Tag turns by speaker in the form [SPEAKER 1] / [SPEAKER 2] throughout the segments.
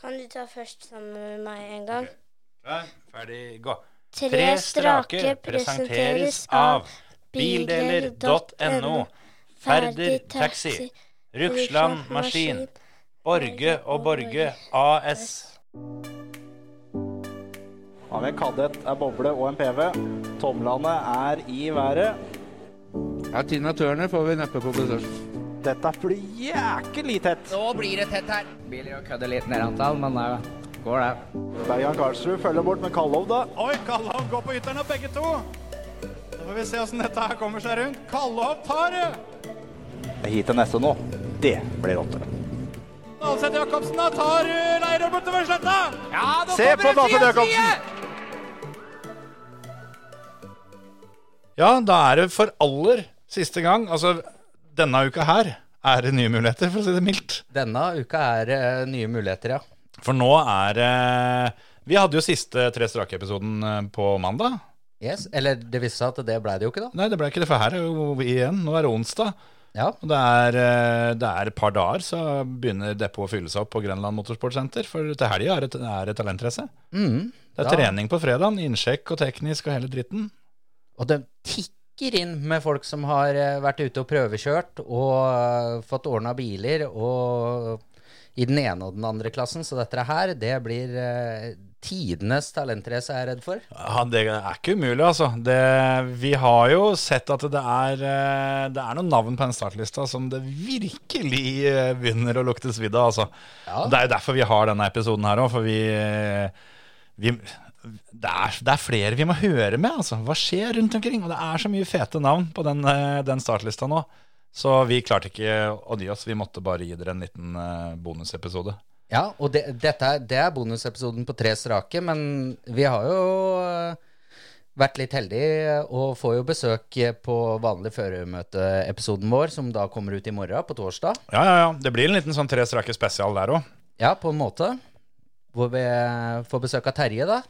[SPEAKER 1] Kan du ta først sammen med meg en gang?
[SPEAKER 2] Ok. Klar, ferdig, gå.
[SPEAKER 1] Tre strake presenteres av
[SPEAKER 2] bildeler.no, Ferder Taxi, Rugsland Maskin, Borge og Borge AS.
[SPEAKER 3] Av en kadett er boble og en PV. Tomlene er i været.
[SPEAKER 4] Ja, Tina Turner får vi neppe på besøk.
[SPEAKER 3] Dette blir jækelig tett.
[SPEAKER 5] Nå blir det tett her. Billig å kødde litt ned antall, men det går det.
[SPEAKER 3] Bergan Karlsrud følger bort med Kallov, da.
[SPEAKER 2] Oi, Kallov går på ytteren av begge to. Da får vi se åssen dette her kommer seg rundt. Kallov tar det!
[SPEAKER 3] Hit til neste nå. Det blir åtte.
[SPEAKER 2] Alseth Jacobsen da tar eh, Leirov bortover sletta.
[SPEAKER 5] Ja, nå
[SPEAKER 3] Se på
[SPEAKER 5] kommer det
[SPEAKER 3] Dasse
[SPEAKER 5] side,
[SPEAKER 3] Jacobsen!
[SPEAKER 5] side!
[SPEAKER 2] Ja, da er det for aller siste gang. Altså, denne uka her er det nye muligheter, for å si det mildt.
[SPEAKER 6] Denne uka er eh, nye muligheter, ja.
[SPEAKER 2] For nå er det Vi hadde jo siste Tre strake-episoden eh, på mandag.
[SPEAKER 6] Yes, Eller det viste seg at det ble det jo ikke, da.
[SPEAKER 2] Nei, det ble ikke det, for her er jo igjen. Nå er det onsdag.
[SPEAKER 6] Ja,
[SPEAKER 2] Og det er, eh, det er et par dager, så begynner depotet å fylle seg opp på Grenland Motorsportsenter. For til helga er det er det talentrace. Det er
[SPEAKER 6] Ja.
[SPEAKER 2] trening på fredagen, innsjekk og teknisk og hele dritten.
[SPEAKER 6] Og de tikker inn med folk som har eh, vært ute og prøvekjørt og eh, fått ordna biler og i den ene og den andre klassen. Så dette her, det blir eh, tidenes talentrace, er jeg redd for.
[SPEAKER 2] Ja, Det er ikke umulig, altså. Det, vi har jo sett at det er, eh, det er noen navn på den startlista som det virkelig eh, begynner å lukte svidd av. Altså.
[SPEAKER 6] Ja.
[SPEAKER 2] Det er jo derfor vi har denne episoden her òg, for vi, eh, vi det, er, det er flere vi må høre med. Altså. Hva skjer rundt omkring? Og det er så mye fete navn på den, eh, den startlista nå. Så vi klarte ikke å dy oss. Vi måtte bare gi dere en liten eh, bonusepisode.
[SPEAKER 6] Ja, og det, dette er, det er bonusepisoden på tre strake, men vi har jo eh, vært litt heldige eh, og får jo besøk eh, på vanlig førermøteepisoden vår, som da kommer ut i morgen, på torsdag.
[SPEAKER 2] Ja, ja, ja. Det blir en liten sånn tre strake spesial der òg.
[SPEAKER 6] Ja, på en måte. Hvor vi eh, får besøk av Terje, da.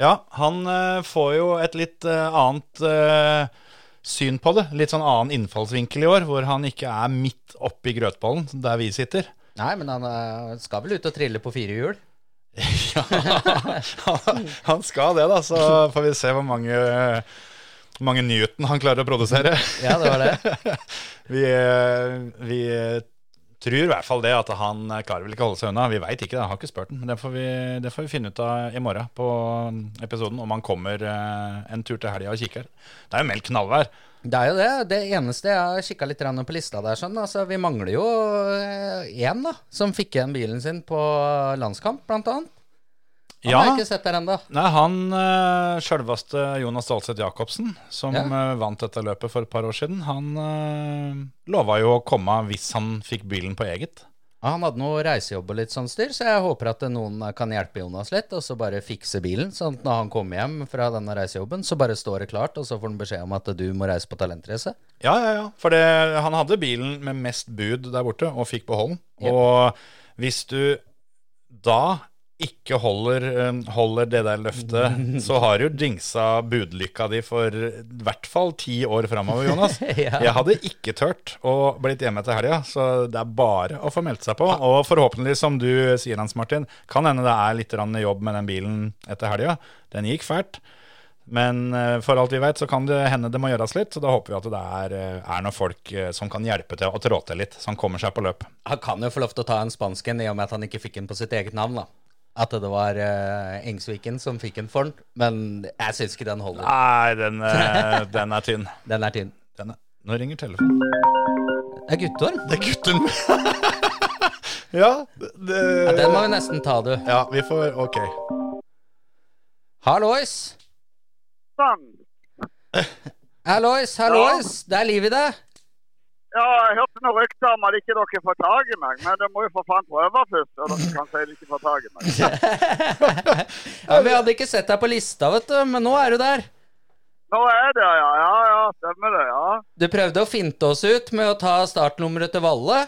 [SPEAKER 2] Ja, han eh, får jo et litt eh, annet eh, syn på det. Litt sånn annen innfallsvinkel i år, hvor han ikke er midt oppi grøtballen, der vi sitter.
[SPEAKER 6] Nei, men han eh, skal vel ut og trille på fire hjul?
[SPEAKER 2] Ja, han, han skal det, da. Så får vi se hvor mange, eh, hvor mange Newton han klarer å produsere.
[SPEAKER 6] Ja, det var det.
[SPEAKER 2] Vi, eh, vi eh, tror i hvert fall det, at han klarer vel ikke å holde seg unna. Vi veit ikke, det, jeg har ikke spurt han. Men det får, vi, det får vi finne ut av i morgen på mm, episoden, om han kommer eh, en tur til helga og kikker. Det er jo meldt knallvær.
[SPEAKER 6] Det er jo det. Det eneste jeg har kikka litt grann på lista der, sånn, altså, vi mangler jo én da, som fikk igjen bilen sin på landskamp, blant annet. Han har jeg ikke sett der ennå.
[SPEAKER 2] Nei, han uh, sjølveste Jonas Dahlseth Jacobsen, som
[SPEAKER 6] Ja.
[SPEAKER 2] eh, vant dette løpet for et par år siden, han eh, lova jo å komme hvis han fikk bilen på eget.
[SPEAKER 6] Han hadde noe reisejobb og litt sånn styr, så jeg håper at noen kan hjelpe Jonas litt, og så bare fikse bilen. Sånn at når han kommer hjem fra denne reisejobben, så bare står det klart, og så får han beskjed om at du må reise på talentrace.
[SPEAKER 2] Ja, ja, ja. For det, han hadde bilen med mest bud der borte, og fikk beholde den. Og hvis du da ikke holder, eh, holder det der løftet, så har du dingsa budlykka di for i hvert fall ti år framover, Jonas.
[SPEAKER 6] Ja.
[SPEAKER 2] Jeg hadde ikke tørt å blitt hjemme til helga, så det er bare å få meldt seg på. Og forhåpentlig, som du sier, Hans Martin, kan hende det er litt grann jobb med den bilen etter helga. Den gikk fælt. Men eh, for alt vi vet, så kan det hende det må gjøres litt. Så da håper vi at det er, eh, er noen folk eh, som kan hjelpe til å trå til litt, så han kommer seg på løp.
[SPEAKER 6] Han kan jo få lov til å ta en spansk en, i og med at han ikke fikk den på sitt eget navn, da. At det var eh, Engsviken som fikk den for den, men jeg syns ikke den holder.
[SPEAKER 2] Nei, den, eh, den er tynn.
[SPEAKER 6] Den er tynn.
[SPEAKER 2] Den er. Nå ringer telefonen.
[SPEAKER 6] Det er guttorm.
[SPEAKER 2] Det er gutten! ja, det
[SPEAKER 6] Ja, den må vi nesten ta, du.
[SPEAKER 2] Ja, vi får Ok.
[SPEAKER 6] Hallois!
[SPEAKER 7] Sånn.
[SPEAKER 6] Hallois, hallois! Det er liv i det.
[SPEAKER 7] Ja, jeg hørte noen rykter om at ikke dere får tak i meg, men dere må jo for faen prøve først. Og dere kan si dere ikke får tak i meg.
[SPEAKER 6] Ja, vi hadde ikke sett deg på lista, vet du, men nå er du der.
[SPEAKER 7] Nå er det, ja. Ja, ja, stemmer det, ja.
[SPEAKER 6] Du prøvde å finte oss ut med å ta startnummeret til Valle.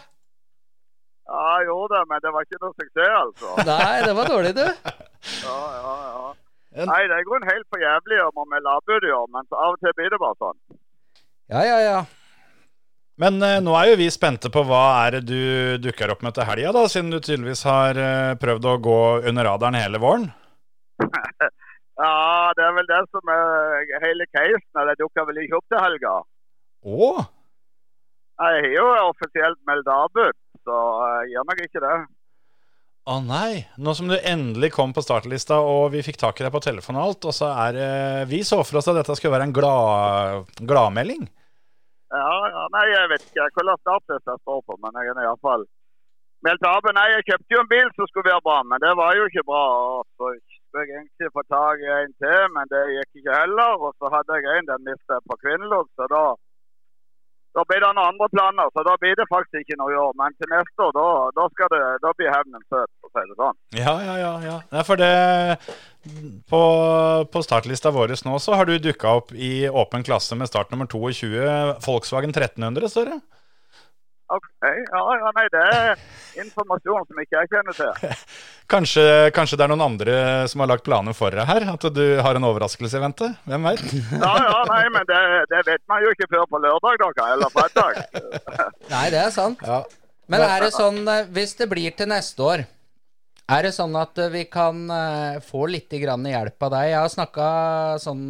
[SPEAKER 7] Ja, jeg gjorde det, men det var ikke noe suksess, altså.
[SPEAKER 6] Nei, det var dårlig, du.
[SPEAKER 7] Ja, ja, ja. Nei, det er i grunnen helt for jævlig å må melde avbud i år, men så av og til blir det bare sånn.
[SPEAKER 6] Ja, ja, ja.
[SPEAKER 2] Men eh, nå er jo vi spente på hva er det du dukker opp med til helga, da, siden du tydeligvis har eh, prøvd å gå under radaren hele våren.
[SPEAKER 7] Ja, det er vel det som er hele casen. Det dukker vel ikke opp til helga.
[SPEAKER 2] Å,
[SPEAKER 7] Jeg har jo offisielt meldt avbud, så eh, jeg gjør nok ikke det.
[SPEAKER 2] å nei. Nå som du endelig kom på startlista, og vi fikk tak i deg på telefon og alt, og så er det Vi så for oss at dette skulle være en glad- gladmelding.
[SPEAKER 7] Ja, ja, nei, jeg vet ikke hvordan startlista jeg står på, men jeg er iallfall meldt av. Nei, jeg kjøpte jo en bil som skulle være bra, men det var jo ikke bra. Og så skulle jeg egentlig få tak i en til, men det gikk ikke heller. Og så hadde jeg en den mista på Kvinnelog, så da da blir det noen andre planer. Så da blir det faktisk ikke noe i år. Men til neste år, da, da, skal det, da blir hevnen søt, for å si det sånn.
[SPEAKER 2] Ja, ja, ja. ja. Nei, for det På, på startlista vår nå så har du dukka opp i åpen klasse med start nummer 22, Volkswagen 1300, står det.
[SPEAKER 7] OK. Ja, ja, nei, det er informasjon som ikke jeg kjenner til.
[SPEAKER 2] Kanskje, kanskje det er noen andre som har lagt planer for deg her? At du har en overraskelse i vente? Hvem veit?
[SPEAKER 7] Ja, ja, nei, men det, det vet man jo ikke før på lørdag, da, eller fredag.
[SPEAKER 6] Nei, det er sant.
[SPEAKER 2] Ja.
[SPEAKER 6] Men er det sånn, eh, hvis det blir til neste år, er det sånn at eh, vi kan eh, få litt grann hjelp av deg? Jeg har snakka sånn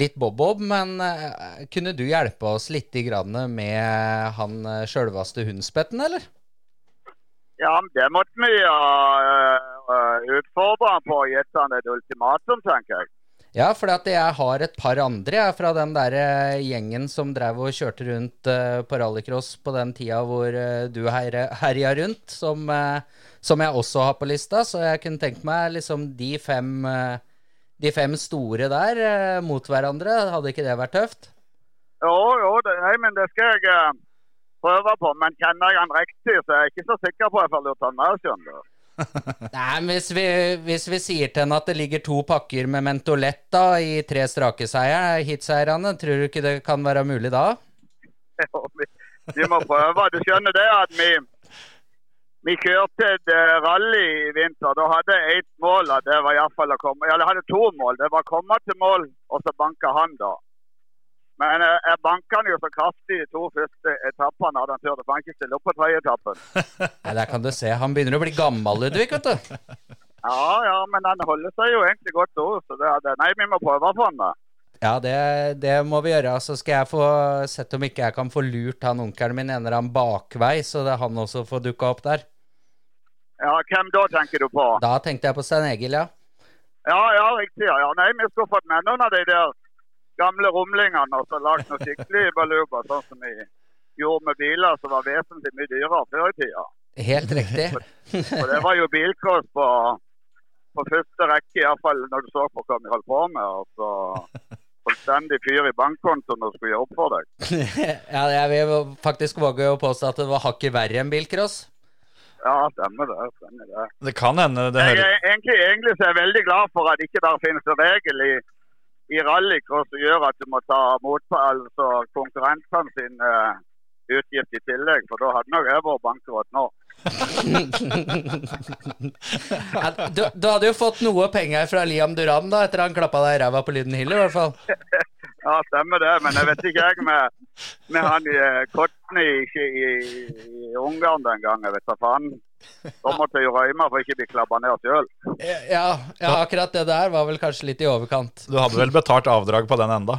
[SPEAKER 6] litt bob-bob, men eh, kunne du hjelpe oss litt grann med han eh, sjølvaste hundspetten, eller?
[SPEAKER 7] Ja, men det måtte vi ja, eh, utfordre han på å gi han et ultimatum, tenker jeg.
[SPEAKER 6] Ja, for at jeg har et par andre jeg, fra den der eh, gjengen som drev og kjørte rundt eh, på rallycross på den tida hvor eh, du her- herja rundt, som, eh, som jeg også har på lista. Så jeg kunne tenkt meg liksom de fem, eh, de fem store der eh, mot hverandre. Hadde ikke det vært tøft?
[SPEAKER 7] Jo, jo, det, nei, men det skal jeg eh, prøve på. Men kjenner jeg han riktig, så er jeg ikke så sikker på at jeg får lurt han med, skjønner du.
[SPEAKER 6] Nei, men hvis vi, hvis vi sier til henne at det ligger to pakker med Mentolett da, i tre strake seier, hitseierne, tror du ikke det kan være mulig da?
[SPEAKER 7] Jo, vi, vi må prøve. Du skjønner det at vi, vi kjørte et eh, rally i vinter. Da hadde jeg ett mål. og Det var i hvert fall å komme. Eller jeg hadde to mål. Det var å komme til mål, og så banka han, da. Men eh, jeg banka han jo så kraftig i to første etappene at han turte faen ikke stille opp på tredje etappen.
[SPEAKER 6] Nei, der kan du se. Han begynner å bli gammel, Ludvig, vet du.
[SPEAKER 7] Ja, ja, men han holder seg jo egentlig godt da. Så det hadde, nei, vi må prøve på han, da.
[SPEAKER 6] Ja, det, det må vi gjøre. Så skal jeg få sett om ikke jeg kan få lurt han onkelen min en eller annen bakvei, så det han også får dukka opp der.
[SPEAKER 7] Ja, hvem da tenker du på?
[SPEAKER 6] Da tenkte jeg på Stein Egil, ja.
[SPEAKER 7] Ja, ja, riktig. Ja. ja. Nei, vi skulle fått med noen av de der gamle rumlingene og så lagd noe skikkelig baluba, sånn som vi gjorde med biler som var vesentlig mye dyrere før i tida.
[SPEAKER 6] Helt riktig.
[SPEAKER 7] For det var jo bilkås på, på første rekke, iallfall når du så på hva vi holdt på med. og så fullstendig fyr i bankkontoen og skulle gjøre opp for deg.
[SPEAKER 6] Ja, jeg vil faktisk våge å påstå at det var hakket verre enn bilcross.
[SPEAKER 7] Ja, stemmer det. stemmer det.
[SPEAKER 2] Det kan hende det
[SPEAKER 7] Jeg
[SPEAKER 2] hører
[SPEAKER 7] er egentlig, egentlig så er jeg veldig glad for at ikke der finnes en regel i, i rallycross som gjør at du må ta motpa, altså konkurrentene sin eh, utgift i tillegg. For da hadde nok jeg vært bankerott nå.
[SPEAKER 6] Ja, Du, du hadde jo fått noe penger fra Liam Duran da, etter han klappa deg i ræva på Lyden Hill, i hvert fall.
[SPEAKER 7] Ja, stemmer det. Men jeg vet ikke jeg med, med han i eh, Kotten i, i, i Ungarn den gang. Jeg vet da faen. Da måtte jeg jo rømme for ikke å bli klabba ned sjøl.
[SPEAKER 6] Ja, ja, akkurat det der var vel kanskje litt i overkant.
[SPEAKER 2] Du hadde vel betalt avdrag på den enda?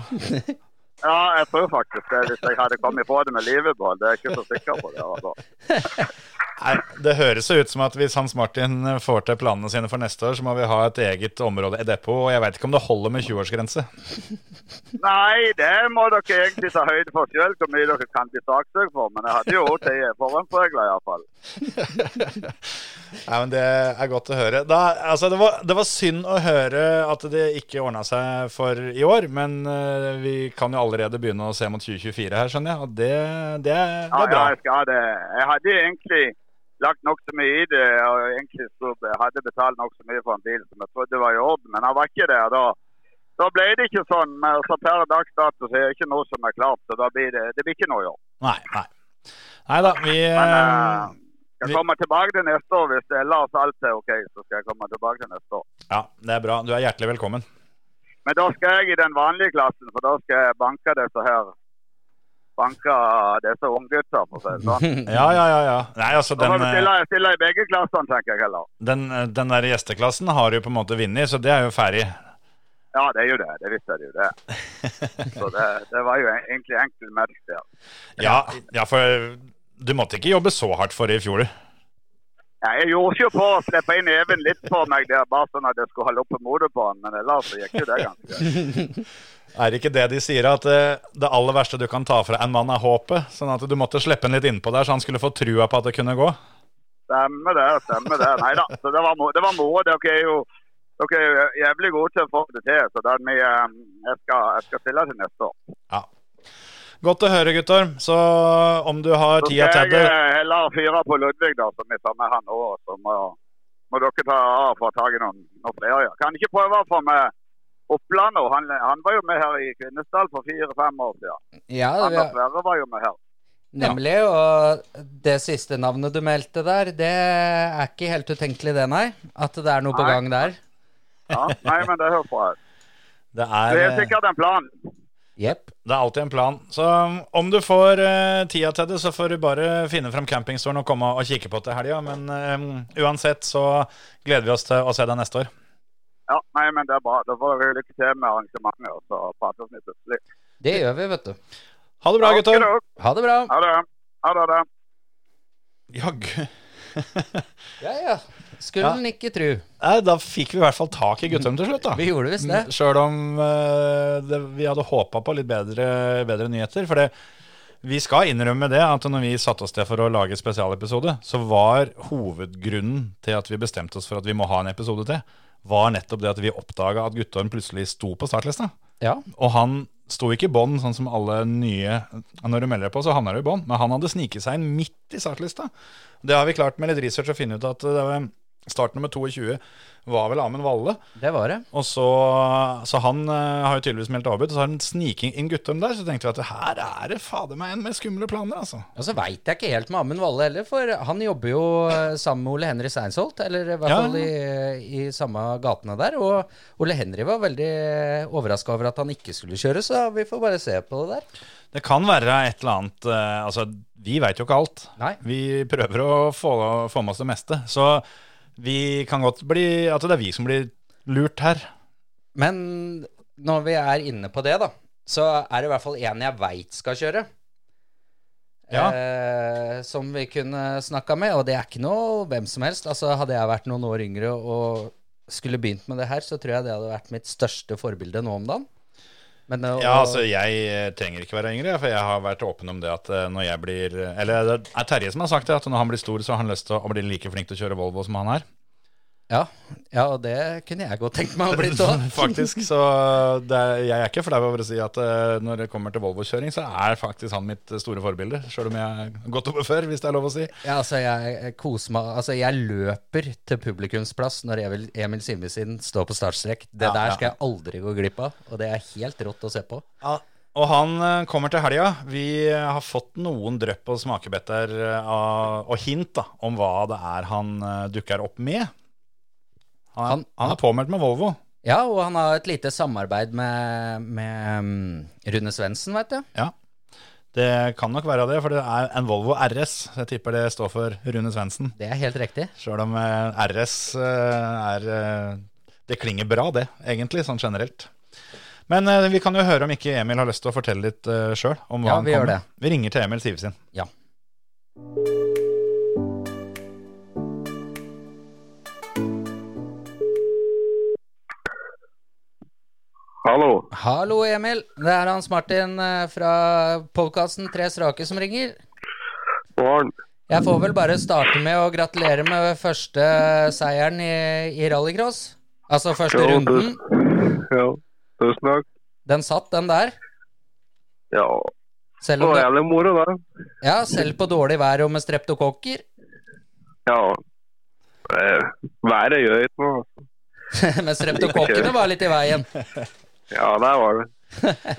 [SPEAKER 7] Ja, jeg tror faktisk det. Hvis jeg hadde kommet på det med livet på, det er jeg ikke så sikker på. det. Altså.
[SPEAKER 2] Nei, det høres jo ut som at hvis Hans Martin eh, får til planene sine for neste år, så må vi ha et eget område, et depot, og jeg veit ikke om det holder med 20-årsgrense.
[SPEAKER 7] Nei, det må dere egentlig ta høyde for sjøl, hvor mye dere kan bli saksøkt for. Men jeg hadde jo til forhåndsregler iallfall.
[SPEAKER 2] Nei, men Det er godt å høre. Da, altså, det, var, det var synd å høre at det ikke ordna seg for i år, men eh, vi kan jo allerede begynne å se mot 2024 her, skjønner jeg. Og det, det, er- det er
[SPEAKER 7] Ja, ja,
[SPEAKER 2] bra.
[SPEAKER 7] jeg skal ha det. Jeg hadde egentlig lagt nokså mye i det, og egentlig så jeg hadde betalt nokså mye for en bil som jeg trodde var i orden, men han var ikke det. og Da, da ble det ikke sånn. Men så per dags dato så er det ikke noe som er klart, så da blir det, det blir ikke noe i år.
[SPEAKER 2] Nei, nei. Nei da, vi eh,
[SPEAKER 7] Men eh, jeg
[SPEAKER 2] vi-
[SPEAKER 7] kommer tilbake til neste år hvis ellers alt er OK, så skal jeg komme tilbake til neste år.
[SPEAKER 2] Ja, det er bra. Du er hjertelig velkommen.
[SPEAKER 7] Men da skal jeg i den vanlige klassen, for da skal jeg banke disse her banka disse unggutter, for å si det sånn.
[SPEAKER 2] Ja, ja, ja. ja. Nei, altså,
[SPEAKER 7] Da
[SPEAKER 2] den,
[SPEAKER 7] får vi
[SPEAKER 2] eh,
[SPEAKER 7] stille, stille i begge klassene, tenker jeg heller.
[SPEAKER 2] den, eh, den der gjesteklassen har du på en måte vunnet, så det er jo ferdig.
[SPEAKER 7] Ja, det er jo det. Det visste jeg jo det. Så det, det var jo egentlig enkel match der.
[SPEAKER 2] Ja, ja, for eh, du måtte ikke jobbe så hardt for det i fjor.
[SPEAKER 7] Ja, jeg gjorde ikke på å slippe inn Even litt på meg der, bare sånn at jeg skulle holde oppe motet på han, men ellers så gikk jo det ganske greit.
[SPEAKER 2] Er det ikke det de sier, at eh, det aller verste du kan ta fra en mann, er håpet? Sånn at du måtte slippe han litt innpå der, så han skulle få trua på at det kunne gå?
[SPEAKER 7] Stemmer det, stemmer det. Nei da, så det var, mo- det var moro. Dere er jo dere er jo jævlig gode til å få det til, så da er vi, eh, jeg, skal, jeg skal stille til neste år.
[SPEAKER 2] Godt å høre, gutter. Så om du har
[SPEAKER 7] Så
[SPEAKER 2] tida
[SPEAKER 7] skal
[SPEAKER 2] til
[SPEAKER 7] jeg
[SPEAKER 2] det
[SPEAKER 7] eh, heller fyre på Ludvig, da, som jeg tar med han òg. Så må, må dere ta av få tak i noen, noen flere. ja. Kan ikke prøve å få med Oppland nå. Han, han var jo med her i Kvinesdal for fire-fem år siden.
[SPEAKER 6] Ja, vi
[SPEAKER 7] Anders
[SPEAKER 6] har-
[SPEAKER 7] Sverre var jo med her.
[SPEAKER 6] nemlig. Og det siste navnet du meldte der, det er ikke helt utenkelig, det, nei. At det er noe på
[SPEAKER 7] Nei.
[SPEAKER 6] gang der.
[SPEAKER 7] Ja, nei, men det hører bra ut.
[SPEAKER 2] Det
[SPEAKER 7] Det er
[SPEAKER 2] er, eh,
[SPEAKER 7] sikkert en plan.
[SPEAKER 6] Jepp.
[SPEAKER 2] det er alltid en plan. Så om du får eh, tida til det, så får du bare finne fram campingstolen og komme og kikke på til helga. Men eh, uansett så gleder vi oss til å se deg neste år.
[SPEAKER 7] Ja, nei, men det er bra. Da får dere lykke til med arrangementet, og så prates vi plutselig.
[SPEAKER 6] Det gjør vi, vet du.
[SPEAKER 2] Ha det bra, gutter.
[SPEAKER 7] Takk
[SPEAKER 6] Ha det bra.
[SPEAKER 7] skal dere ha. Ha det. Ha det, ha det.
[SPEAKER 2] Jaggu.
[SPEAKER 6] Ja, ja. Skulle
[SPEAKER 2] Ja.
[SPEAKER 6] en ikke tru.
[SPEAKER 2] Nei, Da fikk vi i hvert fall tak i guttum til slutt, da.
[SPEAKER 6] Vi gjorde visst det.
[SPEAKER 2] Sjøl Mm, om eh, det, vi hadde håpa på litt bedre, bedre nyheter. For det, vi skal innrømme det at når vi satte oss til for å lage spesialepisode, så var hovedgrunnen til at vi bestemte oss for at vi må ha en episode til, var nettopp det at vi oppdaga at Guttorm plutselig sto på startlista.
[SPEAKER 6] Ja.
[SPEAKER 2] Og han sto ikke i bånn, sånn som alle nye Når du melder deg på, så havner du i bånn. Men han hadde sniket seg inn midt i startlista. Det har vi klart med litt research å finne ut at det var start nummer 22 var vel Amund Valle.
[SPEAKER 6] Det var det.
[SPEAKER 2] Og så, så han eh, har jo tydeligvis meldt avbud, og så har han sniking inn Guttorm der. Så tenkte vi at her er det fader meg en med skumle planer, altså.
[SPEAKER 6] Og så veit jeg ikke helt med Amund Valle heller, for han jobber jo eh, sammen med Ole Henry Steinsholt, eller i hvert
[SPEAKER 2] Ja.
[SPEAKER 6] fall i, i samme gatene der. Og Ole Henry var veldig overraska over at han ikke skulle kjøre, så vi får bare se på det der.
[SPEAKER 2] Det kan være et eller annet eh, Altså, vi veit jo ikke alt.
[SPEAKER 6] Nei.
[SPEAKER 2] Vi prøver å få, få med oss det meste. Så vi kan godt bli At det er vi som blir lurt her.
[SPEAKER 6] Men når vi er inne på det, da, så er det i hvert fall en jeg veit skal kjøre.
[SPEAKER 2] Ja.
[SPEAKER 6] Eh, som vi kunne snakka med, og det er ikke noe hvem som helst. Altså, hadde jeg vært noen år yngre og skulle begynt med det her, så tror jeg det hadde vært mitt største forbilde nå om dagen. Men, eh,
[SPEAKER 2] Ja,
[SPEAKER 6] og-
[SPEAKER 2] altså jeg eh, trenger ikke være yngre, for jeg har vært åpen om det at eh, når jeg blir Eller det er Terje som har sagt det, at når han blir stor, så har han lyst til å bli like flink til å kjøre Volvo som han er.
[SPEAKER 6] Ja, ja, og det kunne jeg godt tenkt meg å bli òg.
[SPEAKER 2] Faktisk, så det er, jeg er ikke flau over å si at eh, når det kommer til Volvo-kjøring, så er faktisk han mitt store forbilde. Sjøl om jeg har gått over før, hvis det er lov å si.
[SPEAKER 6] Ja, altså, jeg koser meg Altså, jeg løper til publikumsplass når Emil, Emil Simensen står på startstrek. Det
[SPEAKER 2] Ja,
[SPEAKER 6] der
[SPEAKER 2] ja.
[SPEAKER 6] skal jeg aldri gå glipp av, og det er helt rått å se på.
[SPEAKER 2] Og han eh, kommer til helga. Vi eh, har fått noen drøpp og smakebetter eh, av- og hint da, om hva det er han eh, dukker opp med. Han,
[SPEAKER 6] Han-
[SPEAKER 2] han er påmeldt med Volvo.
[SPEAKER 6] Ja, og han har et lite samarbeid med, med mm, Rune Svendsen, veit du.
[SPEAKER 2] Det kan nok være det, for det er en Volvo RS. Så jeg tipper det står for Rune Svendsen.
[SPEAKER 6] Det er helt riktig.
[SPEAKER 2] Sjøl om eh, RS eh, er eh, Det klinger bra, det, egentlig, sånn generelt. Men eh, vi kan jo høre om ikke Emil har lyst til å fortelle litt uh, sjøl om hva
[SPEAKER 6] Ja,
[SPEAKER 2] han
[SPEAKER 6] vi gjør
[SPEAKER 2] kommer
[SPEAKER 6] det.
[SPEAKER 2] med. Vi ringer til Emil Sivesin.
[SPEAKER 6] Ja.
[SPEAKER 7] Hallo.
[SPEAKER 6] Hallo, Emil. Det er Hans Martin eh, fra podkasten Tre strake som ringer.
[SPEAKER 7] Morgen.
[SPEAKER 6] Jeg får vel bare starte med å gratulere med første seieren i, i rallycross. Altså første
[SPEAKER 7] Jo, du-
[SPEAKER 6] runden.
[SPEAKER 7] Ja, tusen takk.
[SPEAKER 6] Den satt, den der.
[SPEAKER 7] Ja,
[SPEAKER 6] Selv, om det,
[SPEAKER 7] jævlig moro, da.
[SPEAKER 6] ja, selv på dårlig vær og med streptokokker.
[SPEAKER 7] Ja. eh, Været gjør ikke noe.
[SPEAKER 6] Men streptokokkene var litt i veien.
[SPEAKER 7] Ja, der var det.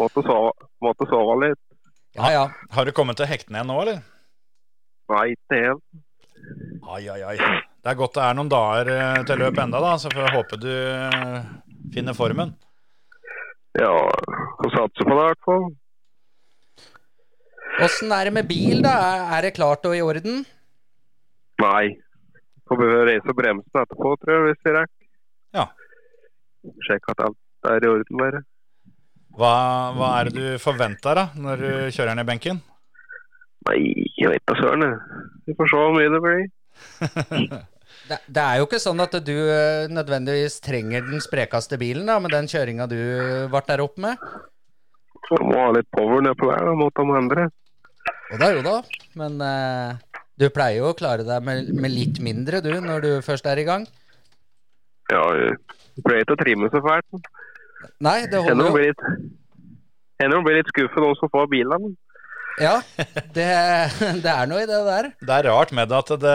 [SPEAKER 7] Måtte sove, måtte sove litt.
[SPEAKER 6] Ja, ja.
[SPEAKER 2] Har du kommet til hektene igjen nå, eller?
[SPEAKER 7] Nei, ikke helt.
[SPEAKER 2] Ai, ai, ai. Det er godt det er noen dager eh, til løp enda, da, så får jeg håpe du eh, finner formen.
[SPEAKER 7] Ja, får satse på det i hvert fall.
[SPEAKER 6] Åssen er det med bil, da? Er- Er det klart og i orden?
[SPEAKER 8] Nei. Får bare reise og bremse etterpå, tror jeg, hvis jeg rekker.
[SPEAKER 2] Ja.
[SPEAKER 8] Sjekk at alt er i orden bare.
[SPEAKER 2] Hva, hva er det du forventer da, når du kjører ned benken?
[SPEAKER 8] Nei, jeg vet da søren. jeg. Vi får se hvor mye det blir.
[SPEAKER 6] Det, det er jo ikke sånn at du eh, nødvendigvis trenger den sprekeste bilen, da, med den kjøringa du ble der oppe med.
[SPEAKER 8] Jeg må ha litt power ned på der, da, mot de andre.
[SPEAKER 6] Og da jo da, men eh, du pleier jo å klare deg med, med litt mindre, du, når du først er i gang.
[SPEAKER 8] Ja, jeg pleier ikke å trimme så fælt.
[SPEAKER 6] Nei, det
[SPEAKER 8] Hender hun
[SPEAKER 6] holder jo.
[SPEAKER 8] blir litt, hender hun blir litt skuffet, noen som får bilene.
[SPEAKER 6] Ja, det, det er noe i det der.
[SPEAKER 2] Det er rart med det at det,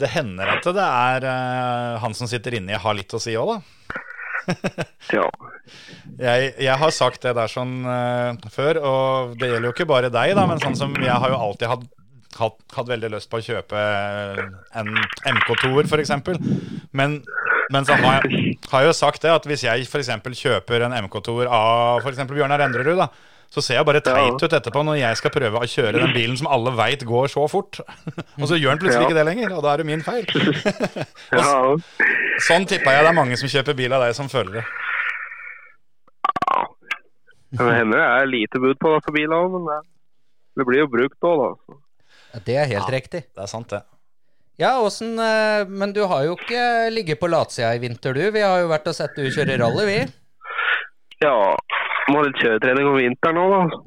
[SPEAKER 2] det hender at det er eh, han som sitter inni, har litt å si òg, da.
[SPEAKER 8] Ja.
[SPEAKER 2] Jeg, jeg har sagt det der sånn eh, før, og det gjelder jo ikke bare deg, da, men sånn som jeg har jo alltid hatt, hatt, hatt veldig lyst på å kjøpe en MK2-er, f.eks. Men, men så har jeg har jo sagt det, at hvis jeg f.eks. kjøper en MK2-er av f.eks. Bjørnar Endrerud, da, så ser jeg bare teit ut etterpå når jeg skal prøve å kjøre den bilen som alle veit går så fort. Og så gjør han plutselig
[SPEAKER 8] Ja.
[SPEAKER 2] ikke det lenger, og da er det min feil. Og
[SPEAKER 8] ja.
[SPEAKER 2] s- sånn tippa jeg det er mange som kjøper bil av deg som føler det.
[SPEAKER 8] Det hender det er lite bud på det for bilene, men det, det blir jo brukt òg, da. Så.
[SPEAKER 6] Ja, Det er helt riktig.
[SPEAKER 2] Det er sant, det.
[SPEAKER 6] Ja, åssen eh, Men du har jo ikke ligget på latsida i vinter, du. Vi har jo vært og sett du kjøre rally, vi.
[SPEAKER 8] Ja, må ha litt kjøretrening om vinteren òg, da.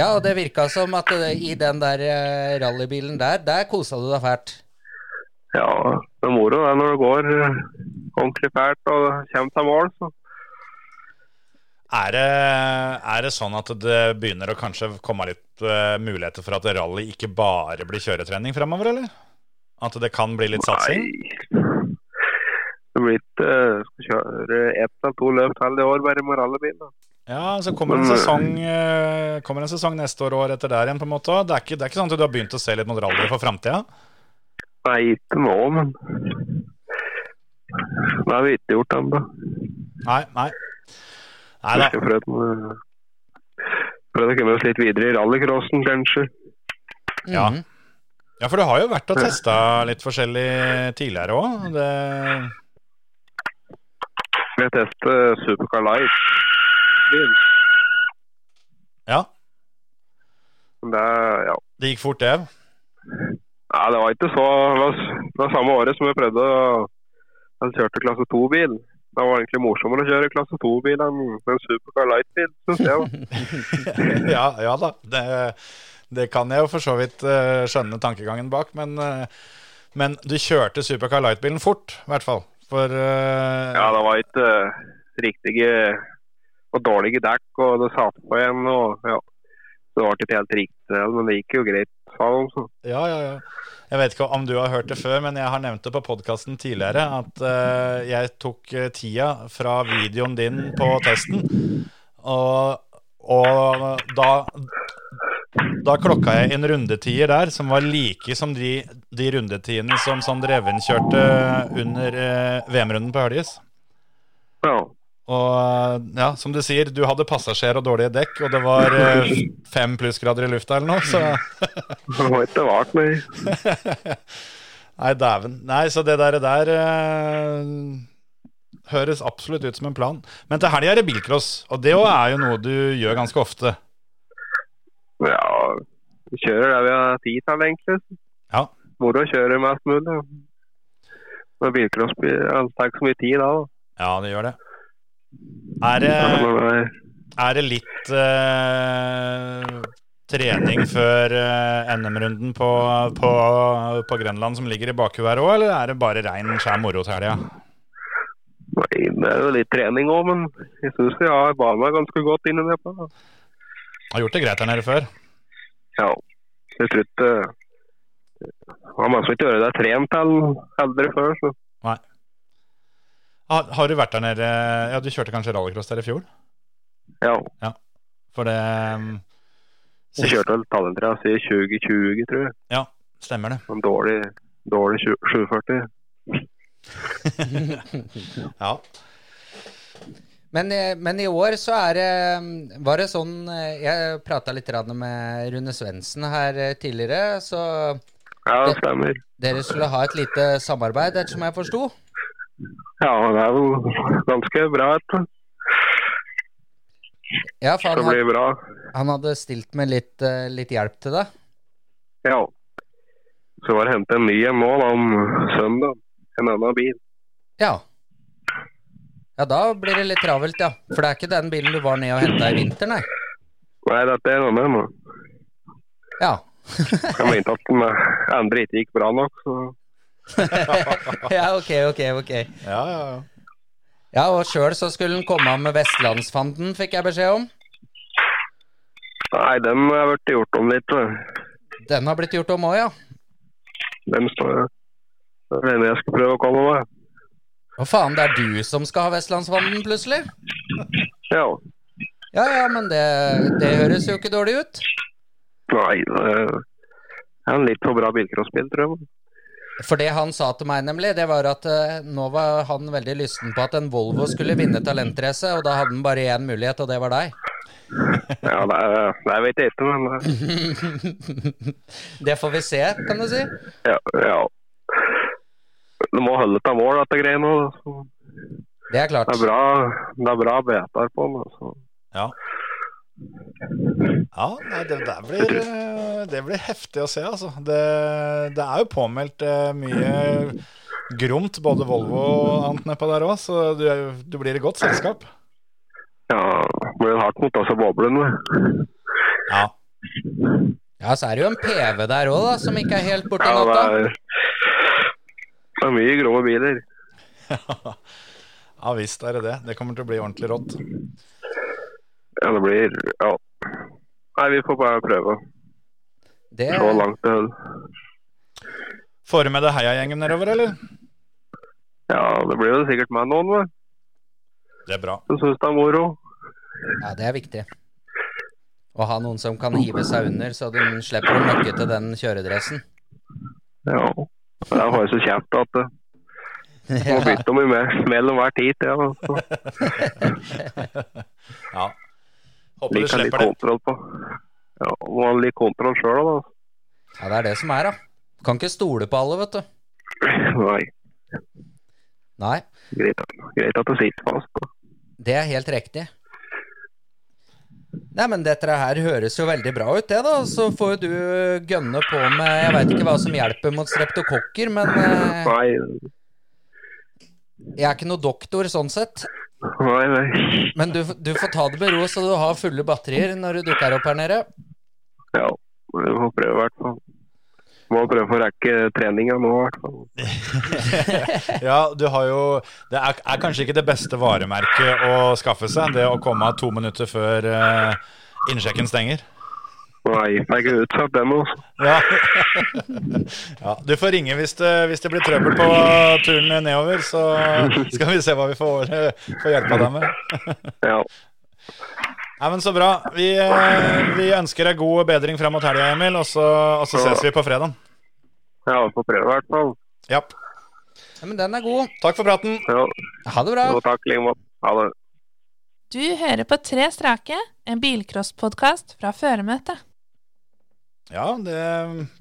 [SPEAKER 6] Ja, og det virka som at eh, i den der eh, rallybilen der, der kosa du deg fælt.
[SPEAKER 8] Ja, det er moro det når det går eh, ordentlig fælt og kommer til mål. Så.
[SPEAKER 2] Er det, er det sånn at det begynner å kanskje komme litt eh, muligheter for at rally ikke bare blir kjøretrening fremover, eller? At det kan bli litt satsing?
[SPEAKER 8] Nei. Det blir ikke eh, Skal kjøre ett eller to løp til i år bare med rallybil. da.
[SPEAKER 2] Ja, så kommer en
[SPEAKER 8] Men-
[SPEAKER 2] sesong, eh, kommer en sesong neste år og året etter der igjen, på en måte. Det er, ikke, det er ikke sånn at du har begynt å se litt mot rally for framtida?
[SPEAKER 8] Nei, ikke nå, men Det har vi ikke gjort ennå.
[SPEAKER 2] Nei, nei. Nei
[SPEAKER 8] Vi
[SPEAKER 2] da.
[SPEAKER 8] skal prøve med- prøve å komme oss litt videre i rallycrossen, kanskje.
[SPEAKER 2] Ja.
[SPEAKER 6] Mhm.
[SPEAKER 2] Ja, for du har jo vært og testa litt forskjellig tidligere òg. Det
[SPEAKER 8] Vi har testet Supercar Light.
[SPEAKER 2] Ja,
[SPEAKER 8] Men Det, er- ja.
[SPEAKER 2] det gikk fort, det.
[SPEAKER 8] Nei, det var ikke så Det var, det var samme året som jeg prøvde å Jeg kjørte klasse 2-bil. Det var egentlig morsommere å kjøre klasse 2-bil enn en Supercar Light-bil, synes jeg. da.
[SPEAKER 2] ja, ja da, det, det kan jeg jo for så vidt eh, skjønne tankegangen bak, men, eh, men du kjørte Supercar Light-bilen fort, i hvert fall. For eh,
[SPEAKER 8] Ja, det var ikke eh, riktige og dårlige dekk, og det satt på igjen, og ja. Det var ikke helt riktig, men det gikk jo greit, sa de. Så.
[SPEAKER 2] ja, ja, ja. Jeg vet ikke om du har hørt det før, men jeg har nevnt det på podkasten tidligere, at eh, jeg tok eh, tida fra videoen din på testen, og, og da da klokka jeg inn rundetider der som var like som de, de rundetidene som Sander Even kjørte under eh, VM-runden på Høljes.
[SPEAKER 8] Ja.
[SPEAKER 2] Og ja, som du sier, du hadde passasjer og dårlige dekk, og det var eh, fem plussgrader i lufta eller noe, så
[SPEAKER 8] Det var ikke vart, nei.
[SPEAKER 2] Nei, dæven. Nei, så det der, der eh, høres absolutt ut som en plan. Men til helga er det bilcross, og det òg er jo noe du gjør ganske ofte.
[SPEAKER 8] Ja, vi kjører der vi har tid til, egentlig.
[SPEAKER 2] Ja.
[SPEAKER 8] Moro å kjøre mest mulig. Men bilcross blir det tar ikke så mye tid da. da.
[SPEAKER 2] Ja, det gjør det. Er det, er det litt eh, trening før eh, NM-runden på, på, på Grenland som ligger i bakhuet her òg, eller er det bare rein, skjær moro til helga?
[SPEAKER 8] Nei, det er jo litt trening òg, men jeg syns jeg har bana ganske godt inni det. på.
[SPEAKER 2] Har gjort det greit her nede før?
[SPEAKER 8] Ja. Jeg tror ikke Jeg har mest ikke vært der trent til aldri før, så
[SPEAKER 2] Har, har du vært der nede Ja, du kjørte kanskje rallycross der i fjor?
[SPEAKER 8] ja.
[SPEAKER 2] For det um,
[SPEAKER 8] Jeg
[SPEAKER 2] sist-
[SPEAKER 8] kjørte vel talentrace i 2020, tror jeg.
[SPEAKER 2] Stemmer det.
[SPEAKER 8] En dårlig, dårlig 20 740.
[SPEAKER 2] Ja.
[SPEAKER 6] Men, eh, men i år så er det Var det sånn eh, Jeg prata litt grann med Rune Svendsen her eh, tidligere, så
[SPEAKER 8] Ja, det stemmer.
[SPEAKER 6] dere skulle ha et lite samarbeid, ettersom jeg forsto?
[SPEAKER 8] Ja, det er jo ganske bra. vet du.
[SPEAKER 6] Ja, for
[SPEAKER 8] Det
[SPEAKER 6] han, had-
[SPEAKER 8] blir bra.
[SPEAKER 6] han hadde stilt med litt, eh, litt hjelp til deg?
[SPEAKER 8] Ja. Så var det hentet en ny en nå da, om søndag. En annen bil.
[SPEAKER 6] Ja. Ja, da blir det litt travelt, ja. For det er ikke den bilen du var nede og henta i vinter, nei?
[SPEAKER 8] Nei, dette er en annen. da.
[SPEAKER 6] Ja.
[SPEAKER 8] Jeg mente at den eh, andre ikke gikk bra nok, så
[SPEAKER 6] ja, ok, ok, ok.
[SPEAKER 2] Ja, ja, ja.
[SPEAKER 6] Ja, og sjøl så skulle han komme med Vestlandsfanden, fikk jeg beskjed om.
[SPEAKER 8] Nei, den har vært gjort om litt. eh. vet du.
[SPEAKER 6] Den har blitt gjort om òg, ja.
[SPEAKER 8] Den står Det er den jeg skal prøve å komme meg.
[SPEAKER 6] Å faen, det er du som skal ha Vestlandsfanden, plutselig?
[SPEAKER 8] Ja.
[SPEAKER 6] Ja ja, men det, det høres jo ikke dårlig ut.
[SPEAKER 8] Nei, det er en litt for bra bilcrossbil, tror jeg.
[SPEAKER 6] For det han sa til meg, nemlig, det var at eh, nå var han veldig lysten på at en Volvo skulle vinne talentrace, og da hadde han bare én mulighet, og det var deg.
[SPEAKER 8] Ja, det, er- det vet jeg ikke, men eh,
[SPEAKER 6] det får vi se, kan du si.
[SPEAKER 8] ja. ja. Du må holde til mål, dette greiene. da, så
[SPEAKER 6] Det er
[SPEAKER 8] Det
[SPEAKER 6] klart.
[SPEAKER 8] er bra, det er bra betar på den. Altså.
[SPEAKER 2] Ja. Ja, nei, det der blir, eh, det blir heftig å se, altså. Det, det er jo påmeldt eh, mye gromt, både Volvo og annet nedpå der òg, så du, er- du blir i godt selskap.
[SPEAKER 8] Ja, det blir hardt mot altså boblene.
[SPEAKER 2] Ja.
[SPEAKER 6] Ja, så er det jo en PV der òg, da, som ikke er helt borti
[SPEAKER 8] Ja, det
[SPEAKER 6] natta.
[SPEAKER 8] er, det er mye grå biler.
[SPEAKER 2] Ja visst er det det. Det kommer til å bli ordentlig rått.
[SPEAKER 8] Ja, det blir Ja. Nei, vi får bare prøve.
[SPEAKER 6] Det,
[SPEAKER 8] Så langt det holder.
[SPEAKER 2] Får du med deg heiagjengen nedover, eller?
[SPEAKER 8] Ja, det blir jo sikkert meg noen, vel.
[SPEAKER 2] Det er bra.
[SPEAKER 8] Som syns det er moro.
[SPEAKER 6] ja, det er viktig. Å ha noen som kan hive seg under, så du slipper å møkke til den kjøredressen.
[SPEAKER 8] Ja. Det er bare så kjekt at det
[SPEAKER 6] Ja,
[SPEAKER 8] må bytte mye mer mellom hver tid. Ja, så
[SPEAKER 2] Ja. Håper du
[SPEAKER 8] liker litt
[SPEAKER 2] slipper det.
[SPEAKER 8] kontroll på. Ja, må ha litt kontroll sjøl, da.
[SPEAKER 6] det er det som er, da. Kan ikke stole på alle, vet du.
[SPEAKER 8] Nei,
[SPEAKER 6] Nei,
[SPEAKER 8] greit, greit at det sitter fast. Da.
[SPEAKER 6] det er helt riktig. Nei, men dette her høres jo veldig bra ut, det, da. Så får jo du gønne på med Jeg veit ikke hva som hjelper mot streptokokker, men eh,
[SPEAKER 8] Nei,
[SPEAKER 6] jeg er ikke noe doktor sånn sett.
[SPEAKER 8] nei, nei.
[SPEAKER 6] Men du, du får ta det med ro, så du har fulle batterier når du dukker opp her nede.
[SPEAKER 8] Ja, vi får prøve i hvert fall. Må prøve å rekke treninga nå, i hvert fall.
[SPEAKER 2] Ja, du har jo Det er, er kanskje ikke det beste varemerket å skaffe seg, det å komme to minutter før eh, innsjekken stenger.
[SPEAKER 8] Nei, jeg er ikke utsatt ennå. altså.
[SPEAKER 2] Ja. ja. Du får ringe hvis det, hvis det blir trøbbel på turen nedover, så skal vi se hva vi får, eh, får hjelpa deg med.
[SPEAKER 8] Ja,
[SPEAKER 2] Nei, men Så bra. Vi, eh, vi ønsker deg god bedring fram mot helga, Emil, og så, og så ses vi på fredag.
[SPEAKER 8] ja vi får prøve i hvert fall.
[SPEAKER 2] Ja.
[SPEAKER 6] Ja, men den er god.
[SPEAKER 2] Takk for praten.
[SPEAKER 8] Ja,
[SPEAKER 6] Ha det bra.
[SPEAKER 8] og takk i like måte. Ha det.
[SPEAKER 9] Du hører på Tre strake, en bilcrosspodkast fra føremøtet.
[SPEAKER 2] Ja, det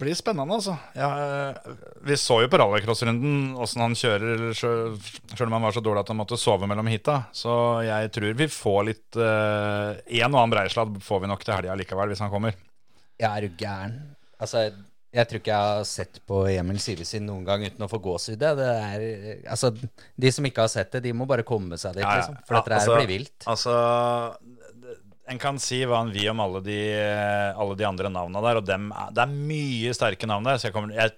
[SPEAKER 2] blir spennende, altså. Ja, eh, vi så jo på rallycrossrunden åssen han kjører, sjøl sjøl om han var så dårlig at han måtte sove mellom hita. Så jeg tror vi får litt eh, En og annen breisladd får vi nok til helga likevel, hvis han kommer.
[SPEAKER 6] Ja, er du gæren? Altså, jeg tror ikke jeg har sett på Emil Sivesin noen gang uten å få gåsehud. Det er Altså, de som ikke har sett det, de må bare komme seg dit,
[SPEAKER 2] Ja, ja.
[SPEAKER 6] liksom. For
[SPEAKER 2] Ja,
[SPEAKER 6] dette her
[SPEAKER 2] altså-
[SPEAKER 6] blir vilt.
[SPEAKER 2] Altså En kan si hva en vil om alle de, alle de andre navna der, og dem, er- det er mye sterke navn der. Så jeg kommer jeg,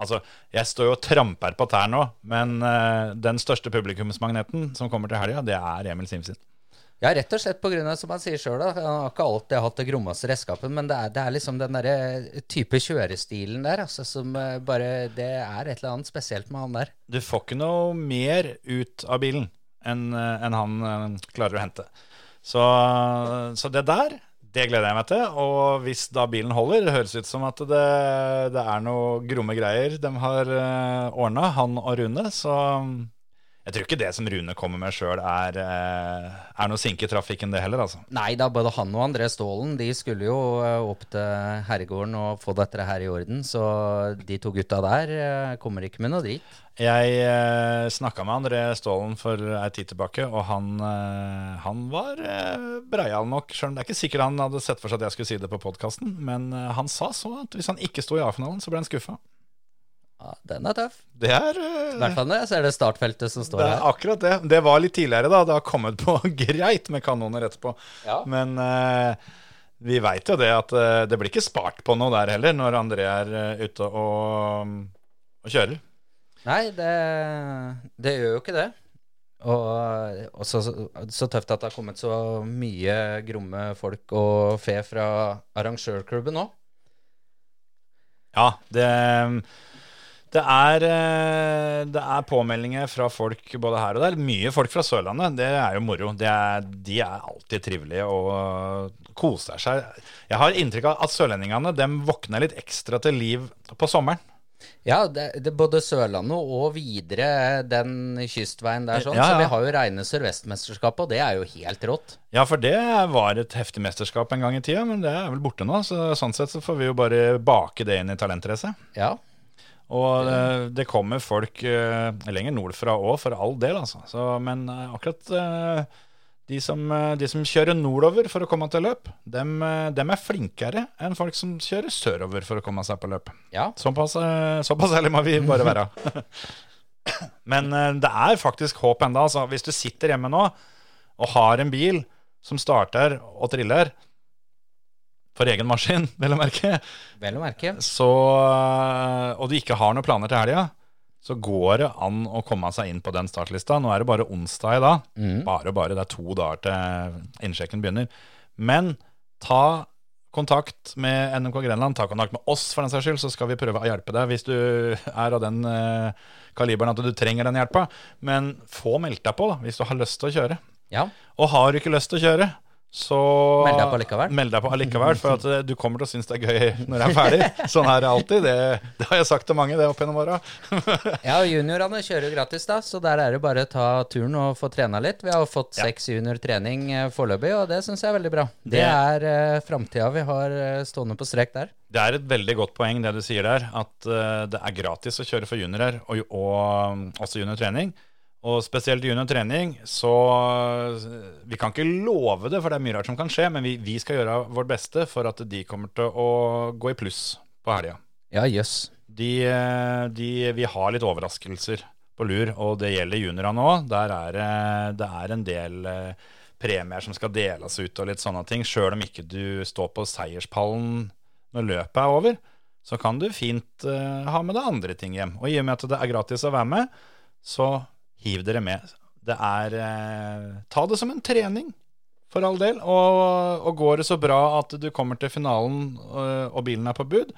[SPEAKER 2] Altså, jeg står jo og tramper på tær nå, men eh, den største publikumsmagneten som kommer til helga, det er Emil Simsin.
[SPEAKER 6] Ja, rett og slett på grunn av, som han sier sjøl, han har ikke alltid hatt det grommeste redskapen, men det er, det er liksom den derre type kjørestilen der, altså, som eh, bare Det er et eller annet spesielt med han der.
[SPEAKER 2] Du får ikke noe mer ut av bilen enn enn han eh, klarer å hente. Så, så det der, det gleder jeg meg til. Og hvis da bilen holder, det høres ut som at det, eh, det er noe gromme greier de har uh, ordna, han og Rune. Så Jeg tror ikke det som Rune kommer med sjøl, er, eh, er noe sinke i trafikken, det heller, altså.
[SPEAKER 6] Nei da, både han og André Stålen de skulle jo eh, opp til herregården og få dette her i orden. Så de to gutta der eh, kommer ikke med noe drit.
[SPEAKER 2] Jeg eh, snakka med André Stålen for ei tid tilbake, og han, eh, han var eh, breial nok. Selv om det er ikke sikkert han hadde sett for seg at jeg skulle si det på podkasten, men eh, han sa så at hvis han ikke sto i A-finalen, så ble han skuffa.
[SPEAKER 6] Ja, den er tøff.
[SPEAKER 2] Det er
[SPEAKER 6] I
[SPEAKER 2] eh,
[SPEAKER 6] hvert fall når jeg ser det startfeltet som står
[SPEAKER 2] det er
[SPEAKER 6] her.
[SPEAKER 2] akkurat det. Det var litt tidligere, da. Det har kommet på greit med kanoner etterpå.
[SPEAKER 6] Ja.
[SPEAKER 2] Men eh, vi veit jo det at eh, det blir ikke spart på noe der heller, når André er eh, ute og, og kjører.
[SPEAKER 6] Nei, det, det gjør jo ikke det. Og, og så, så tøft at det har kommet så mye gromme folk og fe fra arrangørklubben òg.
[SPEAKER 2] Ja, det, det, er, eh, det er påmeldinger fra folk både her og der. Mye folk fra Sørlandet. Det er jo moro. Det er, de er alltid trivelige og koser seg. Jeg har inntrykk av at sørlendingene dem våkner litt ekstra til liv på sommeren.
[SPEAKER 6] Ja, det, det, både Sørlandet og videre den kystveien der sånn.
[SPEAKER 2] Ja, ja.
[SPEAKER 6] Så vi har jo reine Sørvestmesterskapet, og det er jo helt rått.
[SPEAKER 2] Ja, for det var et heftig mesterskap en gang i tida, men det er vel borte nå. Så sånn sett så får vi jo bare bake det inn i talentracet.
[SPEAKER 6] Ja.
[SPEAKER 2] Og eh, det kommer folk eh, lenger nordfra òg, for all del, altså. Så, men eh, akkurat eh, de som, eh, de som kjører nordover for å komme til løp, dem, eh, dem er flinkere enn folk som kjører sørover for å komme seg på løp.
[SPEAKER 6] Ja.
[SPEAKER 2] Såpass, eh, såpass ærlig må vi bare være. Men eh, det er faktisk håp enda. Altså. Hvis du sitter hjemme nå og har en bil som starter og triller, for egen maskin, vel å merke,
[SPEAKER 6] Vel å merke.
[SPEAKER 2] så, eh, og du ikke har noen planer til helga, så går det an å komme seg inn på den startlista. Nå er det bare onsdag i dag.
[SPEAKER 6] Mm.
[SPEAKER 2] Bare og bare, det er to dager til innsjekken begynner. Men ta kontakt med NMK Grenland, ta kontakt med oss for den saks skyld, så skal vi prøve å hjelpe deg hvis du er av den eh, kaliberen at du trenger den hjelpa. Men få meldt deg på da, hvis du har lyst til å kjøre.
[SPEAKER 6] Ja.
[SPEAKER 2] Og har du ikke lyst til å kjøre, så
[SPEAKER 6] Meld deg på allikevel.
[SPEAKER 2] Meld deg på allikevel, for at eh, du kommer til å synes det er gøy når det er ferdig. Sånn er det alltid. Det, det har jeg sagt til mange det opp gjennom åra.
[SPEAKER 6] ja, og juniorene kjører jo gratis, da, så der er det bare å ta turen og få trena litt. Vi har jo fått
[SPEAKER 2] Ja.
[SPEAKER 6] seks juniortrening eh, foreløpig, og det syns jeg er veldig bra. Det,
[SPEAKER 2] Det-
[SPEAKER 6] er eh, framtida vi har eh, stående på strek der.
[SPEAKER 2] Det er et veldig godt poeng det du sier der, at eh, det er gratis å kjøre for juniorer, og, og mm, også juniortrening. Og spesielt juniortrening, så eh, vi kan ikke love det, for det er mye rart som kan skje, men vi, vi skal gjøre vårt beste for at de kommer til å gå i pluss på helga.
[SPEAKER 6] Ja, jøss.
[SPEAKER 2] De, eh, de, vi har litt overraskelser på lur, og det gjelder juniorene òg. Der er det- det er en del eh, premier som skal deles ut og litt sånne ting. Sjøl om ikke du står på seierspallen når løpet er over, så kan du fint eh, ha med deg andre ting hjem. Og i og med at det er gratis å være med, så hiv dere med. Det er eh, Ta det som en trening. For all del. Og, og går det så bra at du kommer til finalen eh, og bilen er på bud,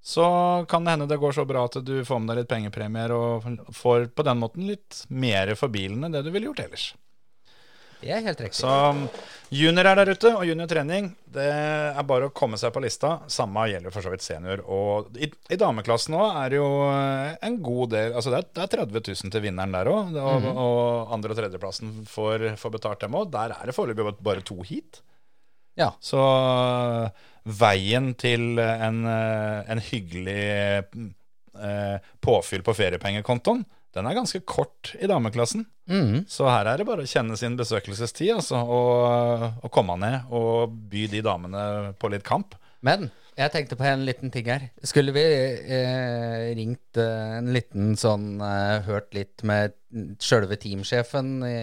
[SPEAKER 2] så kan det hende det går så bra at du får med deg litt pengepremier og får på den måten litt mer for bilen enn det du ville gjort ellers.
[SPEAKER 6] Det er helt riktig.
[SPEAKER 2] Så um, junior er der ute, og juniortrening, det er bare å komme seg på lista. Samme gjelder for så vidt senior. Og i, i dameklassen òg er det jo eh, en god del Altså det er, det er 30 000 til vinneren der òg, og, og andre- og tredjeplassen får, får betalt dem òg. Der er det foreløpig bare to heat.
[SPEAKER 6] Ja.
[SPEAKER 2] Så veien til en, eh, en hyggelig eh, påfyll på feriepengekontoen, den er ganske kort i dameklassen.
[SPEAKER 6] Mhm.
[SPEAKER 2] Så her er det bare å kjenne sin besøkelsestid altså, og, og komme ned og by de damene på litt kamp.
[SPEAKER 6] Men jeg tenkte på en liten ting her. Skulle vi eh, ringt eh, en liten sånn eh, Hørt litt med sjølve teamsjefen i,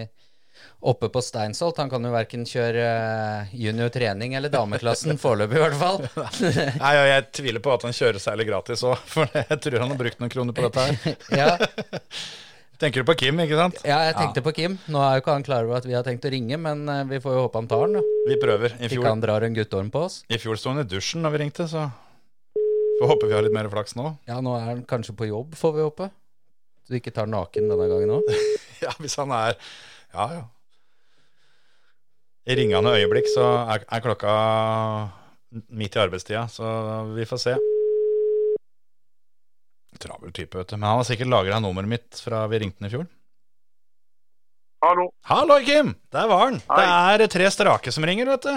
[SPEAKER 6] oppe på Steinsholt? Han kan jo verken kjøre eh, junior trening eller dameklassen foreløpig, i hvert fall.
[SPEAKER 2] Nei, og Jeg tviler på at han kjører særlig gratis òg, for jeg tror han har brukt noen kroner på dette her.
[SPEAKER 6] ja,
[SPEAKER 2] Tenker du på Kim, ikke sant?
[SPEAKER 6] ja, jeg tenkte på Kim. Nå er jo ikke han klar over at vi har tenkt å ringe, men eh, vi får jo håpe han tar den. da.
[SPEAKER 2] Vi prøver. I
[SPEAKER 6] Ikke
[SPEAKER 2] fjor,
[SPEAKER 6] han drar en guttorm på oss.
[SPEAKER 2] i fjor sto han i dusjen når vi ringte, så får håpe vi har litt mer flaks nå.
[SPEAKER 6] Ja, nå er han kanskje på jobb, får vi håpe. Så du ikke tar naken denne gangen òg.
[SPEAKER 2] Ja, hvis han er Ja, ja. I ringende øyeblikk så er, er klokka midt i arbeidstida, så vi får se. Travel type, vet du. Men han har sikkert lagra nummeret mitt fra vi ringte den i fjor.
[SPEAKER 7] Hallo.
[SPEAKER 2] Hallo, Kim! Der var han.
[SPEAKER 7] Hei.
[SPEAKER 2] Det er tre strake som ringer, vet du.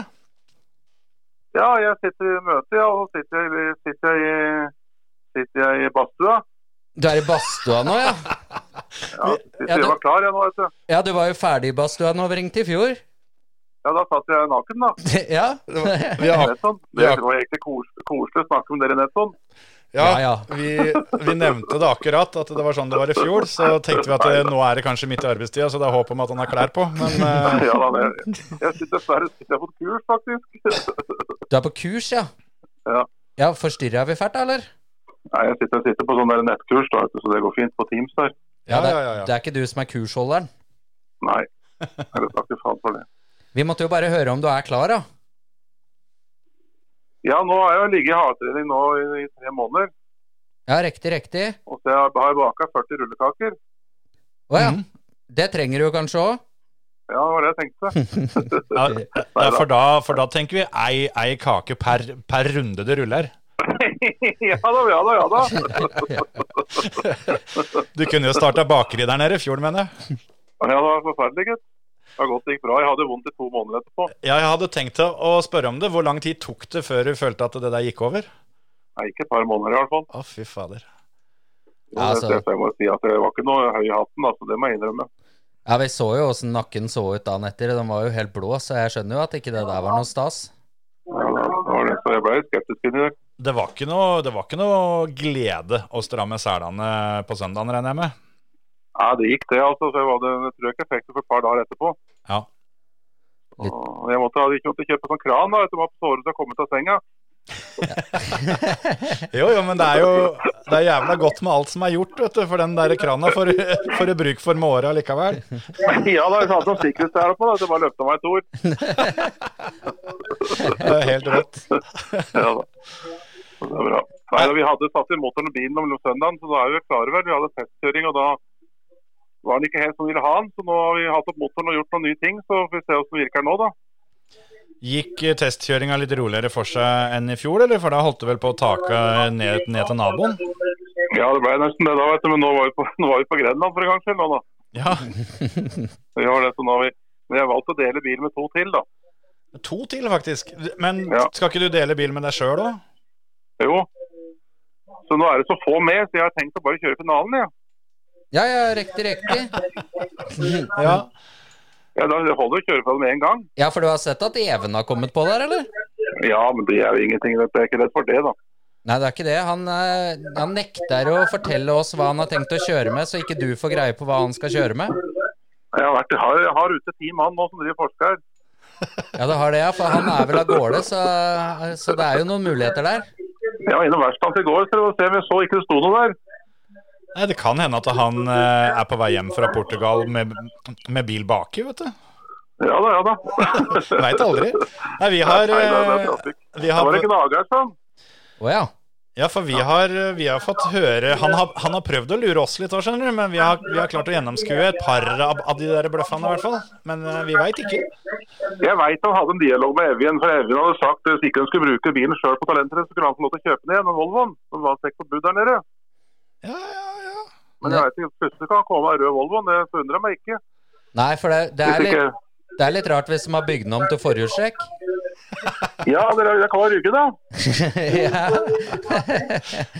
[SPEAKER 7] Ja, jeg sitter i møte, ja, og så sitter jeg, sitter jeg, i- sitter jeg i badstua.
[SPEAKER 6] Du er i badstua nå, ja?
[SPEAKER 7] Ja, sitter
[SPEAKER 6] ja,
[SPEAKER 7] jeg
[SPEAKER 6] du-
[SPEAKER 7] var klar jeg nå, altså. vet du.
[SPEAKER 6] Ja, du var jo ferdig i badstua når vi ringte i fjor.
[SPEAKER 7] Ja, da satt jeg naken, da.
[SPEAKER 6] Ja,
[SPEAKER 2] Vi har,
[SPEAKER 7] Nettopp. Det
[SPEAKER 2] Ja.
[SPEAKER 7] var egentlig kos, koselig å snakke med dere, sånn. Nettopp.
[SPEAKER 2] ja,
[SPEAKER 6] Ja, ja.
[SPEAKER 2] Vi, vi nevnte det akkurat, at det var sånn det var i fjor. Så tenkte vi at det, nå er det kanskje midt i arbeidstida, så det er håp om at han har klær på. Men eh,
[SPEAKER 7] Ja, da, jeg, jeg sitter dessverre sitter jeg på et kurs, faktisk.
[SPEAKER 6] Du er på kurs, ja?
[SPEAKER 7] Ja.
[SPEAKER 6] Ja, Forstyrra vi fælt, da, eller?
[SPEAKER 7] Nei, jeg sitter, sitter på sånn der nettkurs, da, vet du, så det går fint på Teams der.
[SPEAKER 2] ja,
[SPEAKER 6] det,
[SPEAKER 2] ja, ja, ja.
[SPEAKER 6] det er ikke du som er kursholderen.
[SPEAKER 7] Nei, jeg vil takke faen for det.
[SPEAKER 6] Vi måtte jo bare høre om du er klar, da.
[SPEAKER 7] Ja, nå har jeg ligget i hagetrening nå i, i tre måneder,
[SPEAKER 6] Ja, riktig, riktig.
[SPEAKER 7] og så har jeg- har jeg baka 40 rullekaker.
[SPEAKER 6] Å ja.
[SPEAKER 2] Mhm.
[SPEAKER 6] Det trenger du kanskje òg?
[SPEAKER 7] Ja, det var det jeg tenkte.
[SPEAKER 2] ja ja, for, da, for da tenker vi ei, ei kake per, per runde det ruller.
[SPEAKER 7] ja da, ja da, ja da.
[SPEAKER 2] Du kunne jo starta bakeri der nede i fjor, mener jeg.
[SPEAKER 7] Ja, det var forferdelig, gutt. Det var godt det gikk bra. Jeg hadde vondt i to måneder etterpå.
[SPEAKER 2] Ja, jeg hadde tenkt til å spørre om det. Hvor lang tid tok det før du følte at det der gikk over?
[SPEAKER 7] Nei, ikke et par måneder i hvert fall.
[SPEAKER 2] Å, fy fader.
[SPEAKER 7] Ja,
[SPEAKER 6] Ja, altså-
[SPEAKER 7] det, jeg må si at det var ikke noe høy i hatten, altså, det må jeg innrømme.
[SPEAKER 6] Ja, vi så jo åssen nakken så ut dagen etter. Den var jo helt blå, så jeg skjønner jo at ikke det der var noe stas.
[SPEAKER 7] Ja, det var det. Så jeg ble litt skeptisk inn i det.
[SPEAKER 2] Det var ikke noe, det var ikke noe glede å stramme selene på søndagen, regner jeg med.
[SPEAKER 7] Ja, det gikk det, altså. Så jeg var det, jeg tror jeg ikke jeg fikk det for et par dager etterpå.
[SPEAKER 2] Ja.
[SPEAKER 6] Litt-
[SPEAKER 7] Og Jeg måtte, hadde ikke måttet kjøpe sånn kran da, etter at såret som kom ut av senga.
[SPEAKER 2] Jo, jo, men det er jo det er jævla godt med alt som er gjort, vet du. For den der krana får du- får du bruk for med åra likevel.
[SPEAKER 7] Ja, da, jeg hadde sånn sikkerhetsstjerne på, da, så jeg bare løfta meg et ord.
[SPEAKER 2] Det er helt rått.
[SPEAKER 7] Ja, da. Så Det er bra. Nei, da, vi hadde satt i motoren og bilen om søndagen, så da er vi vel klare vel. Vi hadde testkjøring, og da var den ikke helt som vi ville ha den. Så nå har vi hatt opp motoren og gjort noen nye ting, så får vi se hvordan det virker nå, da.
[SPEAKER 2] Gikk testkjøringa litt roligere for seg enn i fjor, eller? For da holdt det vel på å take ned, ned til naboen?
[SPEAKER 7] Ja, det ble nesten det da, vet du. Men nå var vi på, nå var vi på Grenland for en gangs skyld nå, da.
[SPEAKER 2] Ja.
[SPEAKER 7] Vi har det, så nå har vi, vi har valgt å dele bil med to til, da.
[SPEAKER 2] To til, faktisk. Men
[SPEAKER 7] Ja.
[SPEAKER 2] skal ikke du dele bil med deg sjøl òg?
[SPEAKER 7] Jo. Så nå er det så få med, så jeg har tenkt å bare kjøre finalen, jeg. Ja.
[SPEAKER 6] Ja, ja, riktig, riktig.
[SPEAKER 2] Ja.
[SPEAKER 7] Ja, da holder det å kjøre for med en gang.
[SPEAKER 6] Ja, for du har sett at Even har kommet på der, eller?
[SPEAKER 7] Ja, men det er jo ingenting. vet du. Jeg er ikke redd for det, da.
[SPEAKER 6] Nei, det er ikke det. Han, eh, han nekter å fortelle oss hva han har tenkt å kjøre med, så ikke du får greie på hva han skal kjøre med.
[SPEAKER 7] Jeg har, vært, jeg har, jeg har ute ti mann nå som driver forsker.
[SPEAKER 6] Ja, det har det, ja. For han er vel av gårde, så, så det er jo noen muligheter der.
[SPEAKER 7] Jeg var innom verkstedet i går for å se om jeg så ikke det sto noe der.
[SPEAKER 2] Nei, det kan hende at han eh, er på vei hjem fra Portugal med, med bil baki, vet du.
[SPEAKER 7] Ja da, ja da.
[SPEAKER 2] Veit aldri. Nei, vi har,
[SPEAKER 7] Nei, det er
[SPEAKER 2] eh,
[SPEAKER 7] trafikk.
[SPEAKER 2] vi
[SPEAKER 7] Da var det
[SPEAKER 2] har
[SPEAKER 7] gnager sånn.
[SPEAKER 6] Å ja.
[SPEAKER 2] Ja, for vi har, eh, vi har fått høre han har, han har prøvd å lure oss litt òg, skjønner du. Men vi har, vi har klart å gjennomskue et par av, av de der bløffene, i hvert fall. Men eh, vi veit ikke.
[SPEAKER 7] Jeg veit han hadde en dialog med Evjen, for Evjen hadde sagt at hvis ikke han skulle bruke bilen sjøl på talentet, så kunne han få lov til å kjøpe den igjen, en Volvo. Som var seks på bud der nede.
[SPEAKER 2] Ja, ja, ja.
[SPEAKER 7] Men jeg veit ikke, plutselig kan han komme med rød Volvo, det forundrer meg ikke.
[SPEAKER 6] Nei, for det, det, er
[SPEAKER 7] Hvis
[SPEAKER 6] litt,
[SPEAKER 7] ikke
[SPEAKER 6] det er litt rart hvis de har bygd den om til forhjulstrekk.
[SPEAKER 7] Ja, dere, jeg kan rygge, da.
[SPEAKER 6] ja.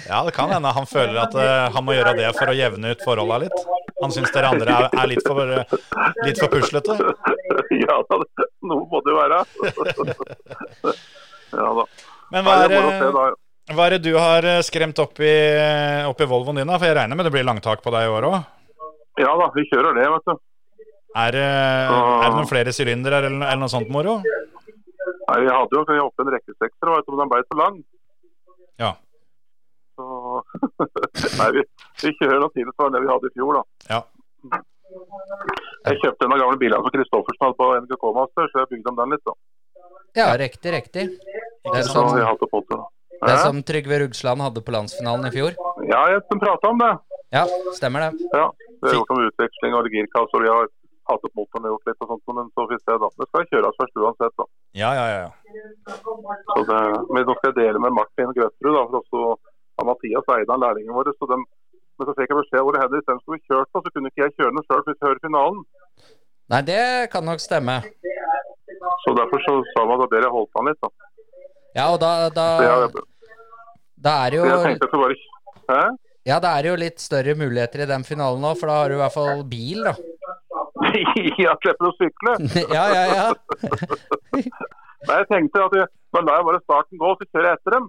[SPEAKER 2] Ja, det kan hende han føler at eh, han må gjøre det for å jevne ut forholda litt. Han syns dere andre er, er litt, for, eh, litt for puslete.
[SPEAKER 7] ja da, det- noe må det jo være. ja da.
[SPEAKER 2] Men hva
[SPEAKER 7] Nei,
[SPEAKER 2] er,
[SPEAKER 7] det er moro å se,
[SPEAKER 2] det-
[SPEAKER 7] da.
[SPEAKER 2] hva er det du har eh, skremt opp i, eh, opp i Volvoen din, da? For jeg regner med det blir langtak på deg i år òg?
[SPEAKER 7] Ja da, vi kjører det, vet du.
[SPEAKER 2] Er, det- er det noen flere sylindere eller, no- eller noe sånt moro?
[SPEAKER 7] Nei, Vi hadde jo vi oppe en rekkesekser, og vet du, men den ble for lang.
[SPEAKER 2] Ja.
[SPEAKER 7] Så Nei, vi, vi kjører noe tilsvarende det vi hadde i fjor, da.
[SPEAKER 2] Ja.
[SPEAKER 7] Jeg kjøpte en av gamle bilene som Kristoffersen hadde på NGK Master, så jeg bygde om den litt. da.
[SPEAKER 6] ja, riktig, riktig. Det er
[SPEAKER 7] Så
[SPEAKER 6] som,
[SPEAKER 7] vi hadde fått det da.
[SPEAKER 6] det er sånn- som Trygve Rugsland hadde på landsfinalen i fjor.
[SPEAKER 7] Ja, jeg har pratet om det.
[SPEAKER 6] Ja, stemmer det.
[SPEAKER 7] Ja, Vi har gjort noe utveksling av girkasser, vi har hatt opp motoren og gjort litt og sånt, men så får vi se da. Det skal kjøres først uansett, da.
[SPEAKER 2] Ja, ja, ja. ja.
[SPEAKER 7] Så det, men nå skal jeg dele med Martin Grøtterud, da, for også ja, Mathias Eidan, lærlingen vår. Så dem, men så fikk jeg beskjed hvor det hender. Istedenfor å kjøre, så kunne ikke jeg kjøre den sjøl hvis jeg hører finalen.
[SPEAKER 6] Nei, det kan nok stemme.
[SPEAKER 7] Så derfor så sa man at dere holdt han litt, da.
[SPEAKER 6] Ja, og da,
[SPEAKER 7] Så
[SPEAKER 6] da,
[SPEAKER 7] jeg,
[SPEAKER 6] da er det
[SPEAKER 7] så jeg
[SPEAKER 6] jo
[SPEAKER 7] tenkte at det bare Hæ?
[SPEAKER 6] Ja, det er jo litt større muligheter i den finalen nå, for da har du i hvert fall bil, da.
[SPEAKER 7] Ja, slipper å sykle.
[SPEAKER 6] Ja, ja, ja.
[SPEAKER 7] Nei, jeg tenkte at jeg, da lar jeg bare starten gå, så kjører jeg etter dem.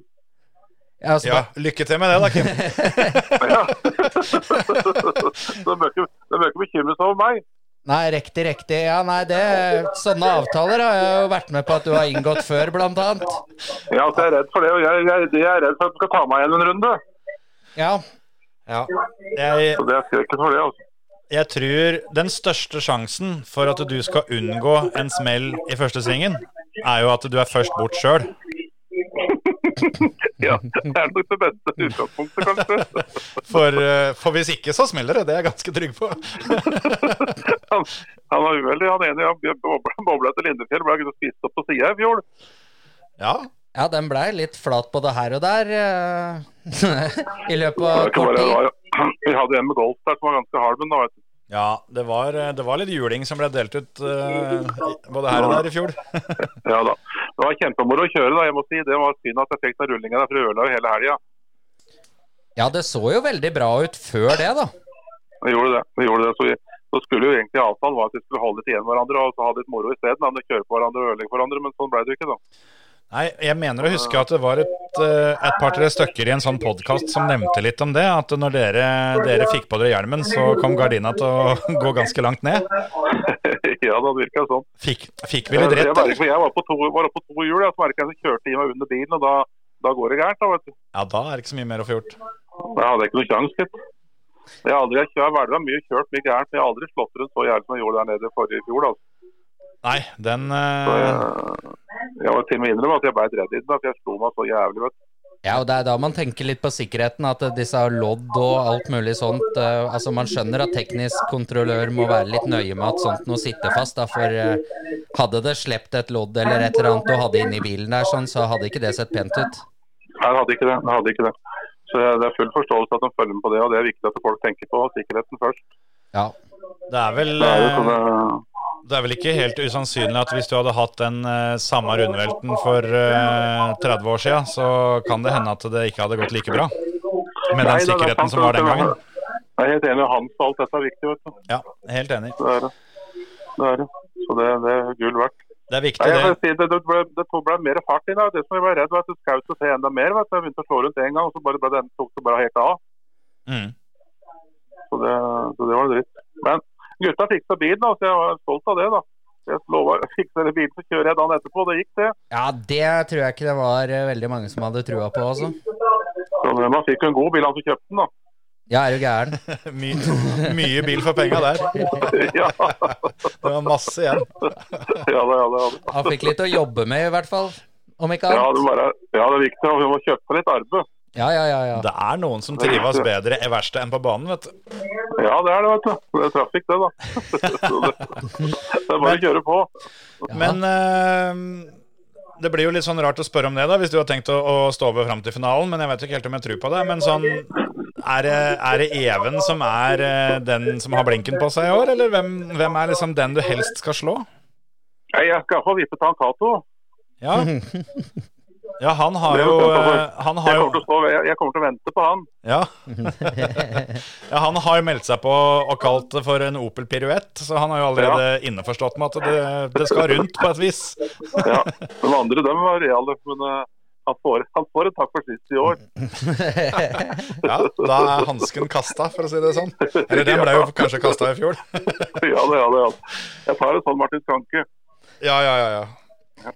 [SPEAKER 6] Ja, så,
[SPEAKER 2] Ja, lykke til med det, da, Kim.
[SPEAKER 7] Ja. så de bør ikke de bør ikke bekymre seg over meg.
[SPEAKER 6] Nei, riktig, riktig. Ja, nei, det Sånne avtaler har jeg jo vært med på at du har inngått før, blant annet.
[SPEAKER 7] Ja, altså, jeg er redd for det, og jeg, jeg, jeg er redd for at de skal ta meg igjen en runde.
[SPEAKER 6] Ja.
[SPEAKER 2] Ja. Jeg,
[SPEAKER 7] Så det er skrekken for det, altså.
[SPEAKER 2] jeg tror den største sjansen for at du skal unngå en smell i første svingen, er jo at du er først bort sjøl.
[SPEAKER 7] Ja, det er nok det beste utgangspunktet, kanskje.
[SPEAKER 2] For, eh, for hvis ikke, så smeller det. Det er jeg ganske trygg på.
[SPEAKER 7] Han, han var uheldig, han ene. Han bobla, bobla til Lindefjell, ble ikke spist opp på sida i fjor.
[SPEAKER 2] Ja,
[SPEAKER 6] Ja, den blei litt flat både her og der eh, i løpet
[SPEAKER 7] Det
[SPEAKER 6] av
[SPEAKER 7] var ikke
[SPEAKER 6] kort
[SPEAKER 7] bare- det
[SPEAKER 6] tid.
[SPEAKER 7] var- Vi hadde en med golf der som var ganske hard, men da vet du.
[SPEAKER 2] ja det, var, eh, det var litt juling som ble delt ut eh, i- både her og der i fjor.
[SPEAKER 7] Ja da. Det var kjempemoro å kjøre, da, jeg må si. Det var synd at jeg fikk den rullinga der, for jeg ødela jo hele helga.
[SPEAKER 6] Ja, det så jo veldig bra ut før det, da.
[SPEAKER 7] Vi gjorde det. Vi gjorde det. Så, vi, så skulle jo egentlig avtalen være at vi skulle holde litt igjen hverandre og så ha litt moro isteden. da, men Kjøre på hverandre og ødelegge hverandre, men sånn ble det jo ikke, da.
[SPEAKER 2] Nei, jeg mener å huske at det var et, eh, et par-tre stykker i en sånn podkast som nevnte litt om det. At når dere, dere fikk på dere hjelmen, så kom gardina til å gå ganske langt ned.
[SPEAKER 7] ja, det virka sånn.
[SPEAKER 2] Fikk, fikk vi litt
[SPEAKER 7] jeg,
[SPEAKER 2] rett,
[SPEAKER 7] merket-
[SPEAKER 2] eller?
[SPEAKER 7] for jeg var på to, var oppe på to hjul, og så merka jeg at jeg kjørte i meg under bilen, og da, da går det gærent. da, vet du.
[SPEAKER 2] Ja, da er det ikke så mye mer å få gjort.
[SPEAKER 7] Da hadde jeg ikke noen sjanse, gitt. Jeg har aldri jeg har veldig mye kjørt mye gærent, men jeg har aldri slått rundt så jævlig som jeg gjorde der nede forrige i fjor. da.
[SPEAKER 2] Nei, den
[SPEAKER 7] Så jeg,
[SPEAKER 2] eh,
[SPEAKER 7] jeg var til og med innrømme at jeg ble redd i den, at jeg slo meg så jævlig. vet du.
[SPEAKER 6] Ja, og det er da man tenker litt på sikkerheten, at disse har lodd og alt mulig sånt. eh, altså Man skjønner at teknisk kontrollør må være litt nøye med at sånt noe sitter fast. da, For eh, hadde det slept et lodd eller et eller annet du hadde inni bilen der, sånn, så hadde ikke det sett pent ut.
[SPEAKER 7] Jeg hadde ikke det. Jeg hadde ikke det. Så jeg- Det er full forståelse at de følger med på det, og det er viktig at folk tenker på sikkerheten først.
[SPEAKER 6] Ja.
[SPEAKER 2] det, er vel,
[SPEAKER 7] Det er jo sånn
[SPEAKER 2] eh,
[SPEAKER 7] sånne,
[SPEAKER 2] det er vel ikke helt usannsynlig at hvis du hadde hatt den eh, samme rundvelten for eh, 30 år siden, så kan det hende at det ikke hadde gått like bra. Med den
[SPEAKER 7] Nei, det er sant,
[SPEAKER 2] sikkerheten som var den
[SPEAKER 7] det er-
[SPEAKER 2] gangen.
[SPEAKER 7] Jeg er helt enig med Hans og alt dette er viktig, vet du.
[SPEAKER 2] Ja, helt enig.
[SPEAKER 7] Det er det. det, er det. Så det, det er gull verdt.
[SPEAKER 2] Det er
[SPEAKER 7] Nei,
[SPEAKER 2] viktig,
[SPEAKER 7] jeg
[SPEAKER 2] det.
[SPEAKER 7] vil si det, det, ble, det tok- ble mer fart i det. Det som jeg var redd, var at det skjøt seg til enda mer. Vet du. Jeg begynte å slå rundt én gang, og så bare ble den tok det bare helt av.
[SPEAKER 2] Mm.
[SPEAKER 7] Så det, så det var en dritt. Men gutta fiksa bilen, da, så jeg var stolt av det. da. Jeg lova å fikse den bilen, så kjører jeg dagen etterpå. Det gikk, det.
[SPEAKER 6] ja, det tror jeg ikke det var eh, veldig mange som hadde trua på, altså.
[SPEAKER 7] Så det- man fikk jo en god bil, han som kjøpte den, da.
[SPEAKER 6] Ja, er du gæren?
[SPEAKER 2] Mm. My, mye bil for penga der.
[SPEAKER 7] ja,
[SPEAKER 2] Det var masse igjen.
[SPEAKER 7] ja, da, ja, da, ja, da.
[SPEAKER 6] Han fikk litt å jobbe med, i hvert fall. Om ikke
[SPEAKER 7] Ja, det,
[SPEAKER 6] annet.
[SPEAKER 7] bare, ja, det er viktig. og Vi må kjøpe seg litt arbeid.
[SPEAKER 6] Ja, ja, ja. ja.
[SPEAKER 2] Det er noen som trives bedre i verkstedet enn på banen, vet du.
[SPEAKER 7] Ja, det er det, vet du. Det er trafikk, det, da. så det, det er bare å kjøre på.
[SPEAKER 2] Men eh, det blir jo litt sånn rart å spørre om det, da, hvis du har tenkt å, å stå over fram til finalen. Men jeg vet ikke helt om jeg tror på det. Men sånn er det, er det Even som er eh, den som har blinken på seg i år, eller hvem, hvem er liksom den du helst skal slå?
[SPEAKER 7] Nei, Jeg skal iallfall vippe til han Cato.
[SPEAKER 2] Ja, ja han har jo eh, Han
[SPEAKER 7] Jeg
[SPEAKER 2] har
[SPEAKER 7] kommer,
[SPEAKER 2] jo
[SPEAKER 7] til å stå, jeg, jeg kommer til å vente på han.
[SPEAKER 2] Ja. ja, han har jo meldt seg på og kalt det for en Opel piruett, så han har jo allerede innforstått med at det, det skal rundt på et vis.
[SPEAKER 7] Ja. De andre dem var reale, men eh, han, får, han får en takk for sist i år.
[SPEAKER 2] Ja, da er hansken kasta, for å si det sånn. Eller den ble jo kanskje kasta i fjor.
[SPEAKER 7] ja, det, ja, det, ja. Jeg tar en sånn Martin Skanke.
[SPEAKER 2] Ja, ja, ja. ja.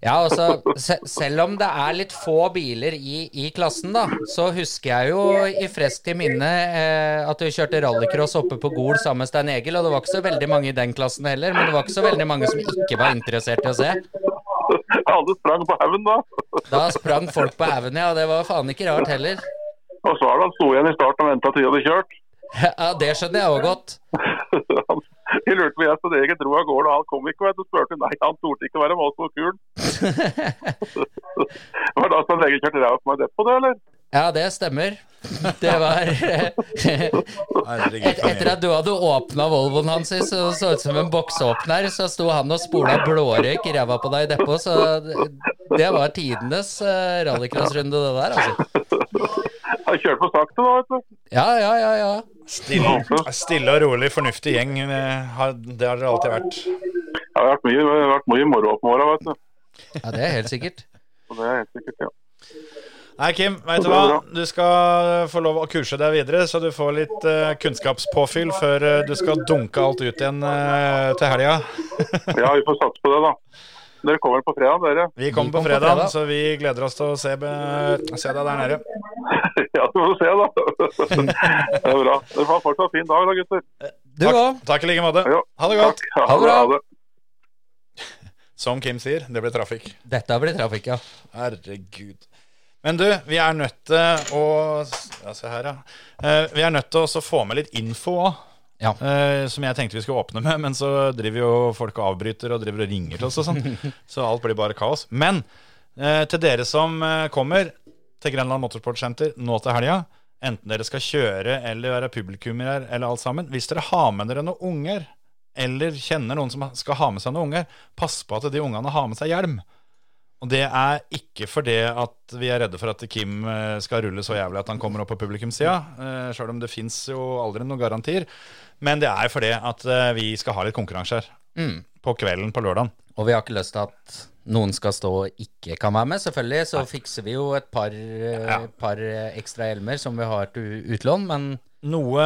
[SPEAKER 6] Ja, altså, se selv om det er litt få biler i, i klassen, da, så husker jeg jo i freskt i minne eh, at du kjørte rallycross oppe på Gol sammen med Stein Egil, og det var ikke så veldig mange i den klassen heller, men det var ikke så veldig mange som ikke var interessert i å se.
[SPEAKER 7] Alle sprang på haugen da.
[SPEAKER 6] Da sprang folk på haugen, ja, og det var faen ikke rart heller.
[SPEAKER 7] Og så er det han sto igjen i starten og venta til de hadde kjørt.
[SPEAKER 6] Ja, det skjønner jeg òg godt.
[SPEAKER 7] Han- Jeg lurte på jeg som eget dro av gårde, og han kom ikke. Og jeg spurte nei, han torde ikke være med oss på kulen. Var det da som legen kjørte ræva på meg i depot, det, eller?
[SPEAKER 6] Ja, det stemmer. Det var eh,
[SPEAKER 2] Herregud,
[SPEAKER 6] Et, etter at du hadde åpna Volvoen hans, så så ut som en boksåpner, så sto han og spola blårøyk i ræva på deg i depot, så det var tidenes eh, rallycrossrunde, det der, altså.
[SPEAKER 8] Han kjørte på sakte, da. vet du.
[SPEAKER 6] Ja, ja, ja, ja.
[SPEAKER 2] stille, stille og rolig, fornuftig gjeng. eh, har- Det har dere alltid vært.
[SPEAKER 8] Det har vært mye, det har vært mye moro opp med åra, vet du.
[SPEAKER 6] Ja, det er helt sikkert.
[SPEAKER 8] Så det er helt sikkert, ja.
[SPEAKER 2] Nei, Kim, vet du hva? Du skal få lov å kurse deg videre, så du får litt eh, kunnskapspåfyll før eh, du skal dunke alt ut igjen eh, til helga.
[SPEAKER 8] Ja, vi får satse på det, da. Dere kommer vel på fredag, dere?
[SPEAKER 2] Vi kommer på
[SPEAKER 6] kommer på
[SPEAKER 2] fredag,
[SPEAKER 6] fredag.
[SPEAKER 2] så vi gleder oss til å se, be- se deg der nede.
[SPEAKER 8] Ja, vi får se, da. Det er bra. Dere får fortsatt fin dag, da, gutter.
[SPEAKER 6] Du òg.
[SPEAKER 2] Takk i like måte.
[SPEAKER 8] Ja,
[SPEAKER 2] Ha det godt.
[SPEAKER 8] Takk. Ja,
[SPEAKER 6] Ha det bra.
[SPEAKER 8] Ha det.
[SPEAKER 2] Som Kim sier, det blir trafikk.
[SPEAKER 6] Dette blir trafikk, ja.
[SPEAKER 2] Herregud. Men du, vi er nødt til å ja, Se her, ja. Eh, Vi er nødt til å få med litt info òg.
[SPEAKER 6] Ja.
[SPEAKER 2] som jeg tenkte vi skulle åpne med, men så driver jo folk og avbryter og driver og ringer til oss og sånn. Så alt blir bare kaos. Men eh, til dere som eh, kommer til Grenland Motorsport Center nå til helga, enten dere skal kjøre eller være publikummer her eller alt sammen, hvis dere har med dere noen unger, eller kjenner noen som skal ha med seg noen unger, pass på at de ungene har med seg hjelm. Og det er ikke fordi at vi er redde for at Kim eh, skal rulle så jævlig at han kommer opp på publikumssida, sjøl om det fins jo aldri noen garantier. Men det er fordi at eh, vi skal ha litt konkurranse her. På kvelden på lørdagen.
[SPEAKER 6] Og vi har ikke lyst til at noen skal stå og ikke kan være med. Selvfølgelig så fikser vi jo et par, eh,
[SPEAKER 2] Ja.
[SPEAKER 6] par eh, ekstra hjelmer som vi har til utlån, men
[SPEAKER 2] Noe,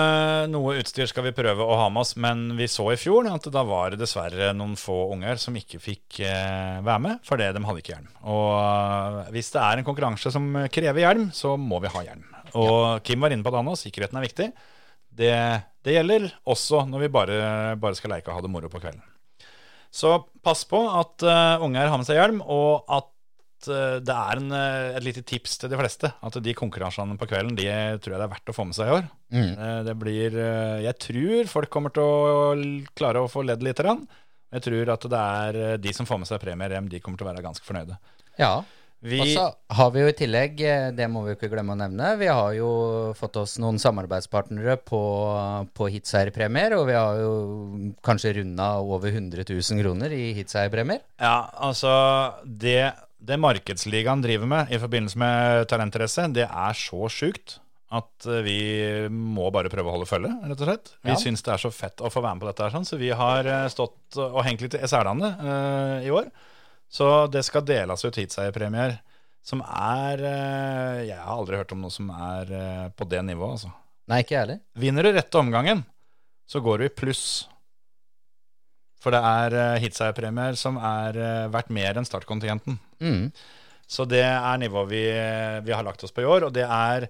[SPEAKER 2] noe utstyr skal vi prøve å ha med oss, men vi så i fjor at da var det dessverre noen få unger som ikke fikk eh, være med, fordi de hadde ikke hjelm. Og eh, hvis det er en konkurranse som krever hjelm, så må vi ha hjelm. Og Kim var inne på det nå, sikkerheten er viktig. Det, det gjelder også når vi bare, bare skal leke og ha det moro på kvelden. Så pass på at eh, unger har med seg hjelm, og at eh, det er en, eh, et lite tips til de fleste. At de konkurransene på kvelden de tror jeg det er verdt å få med seg i år. Eh, Det blir eh, Jeg tror folk kommer til å l- klare å få ledd litt. grann. Jeg tror at det er eh, de som får med seg premier hjem, de kommer til å være ganske fornøyde.
[SPEAKER 6] ja.
[SPEAKER 2] Vi,
[SPEAKER 6] Og så har vi jo i tillegg, eh, det må vi jo ikke glemme å nevne, vi har jo fått oss noen samarbeidspartnere på, på Hitseierpremier, og vi har jo kanskje runda over 100 000 kroner i Hitseierpremier.
[SPEAKER 2] ja, altså det, det markedsligaen driver med i forbindelse med talentrace, det er så sjukt at eh, vi må bare prøve å holde følge, rett og slett. Vi
[SPEAKER 6] Ja.
[SPEAKER 2] syns det er så fett å få være med på dette, her, sånn, så vi har eh, stått og hengt litt i selene eh, i år. Så det skal deles ut hitseierpremier som er eh, Jeg har aldri hørt om noe som er eh, på det nivået, altså.
[SPEAKER 6] Nei, ikke jeg heller.
[SPEAKER 2] Vinner du rette omgangen, så går du i pluss. For det er eh, hitseierpremier som er eh, verdt mer enn startkontingenten.
[SPEAKER 6] Mm.
[SPEAKER 2] Så det er nivået vi, eh, vi har lagt oss på i år, og det er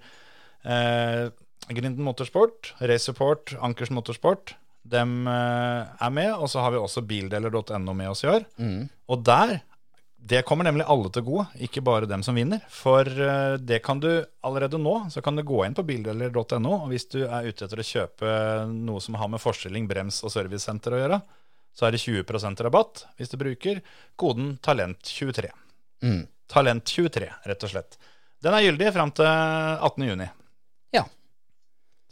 [SPEAKER 2] eh, Grinden Motorsport, Race Support, Ankersen Motorsport. Dem eh, er med, og så har vi også bildeler.no med oss i år.
[SPEAKER 6] Mm.
[SPEAKER 2] Og der det kommer nemlig alle til gode, ikke bare dem som vinner. For eh, det kan du allerede nå, så kan du gå inn på bildeler.no, og hvis du er ute etter å kjøpe noe som har med forstilling, brems og servicesenter å gjøre, så er det 20 rabatt hvis du bruker koden TALENT23.
[SPEAKER 6] Mm.
[SPEAKER 2] TALENT23, rett og slett. Den er gyldig fram til 18. juni.
[SPEAKER 6] Ja.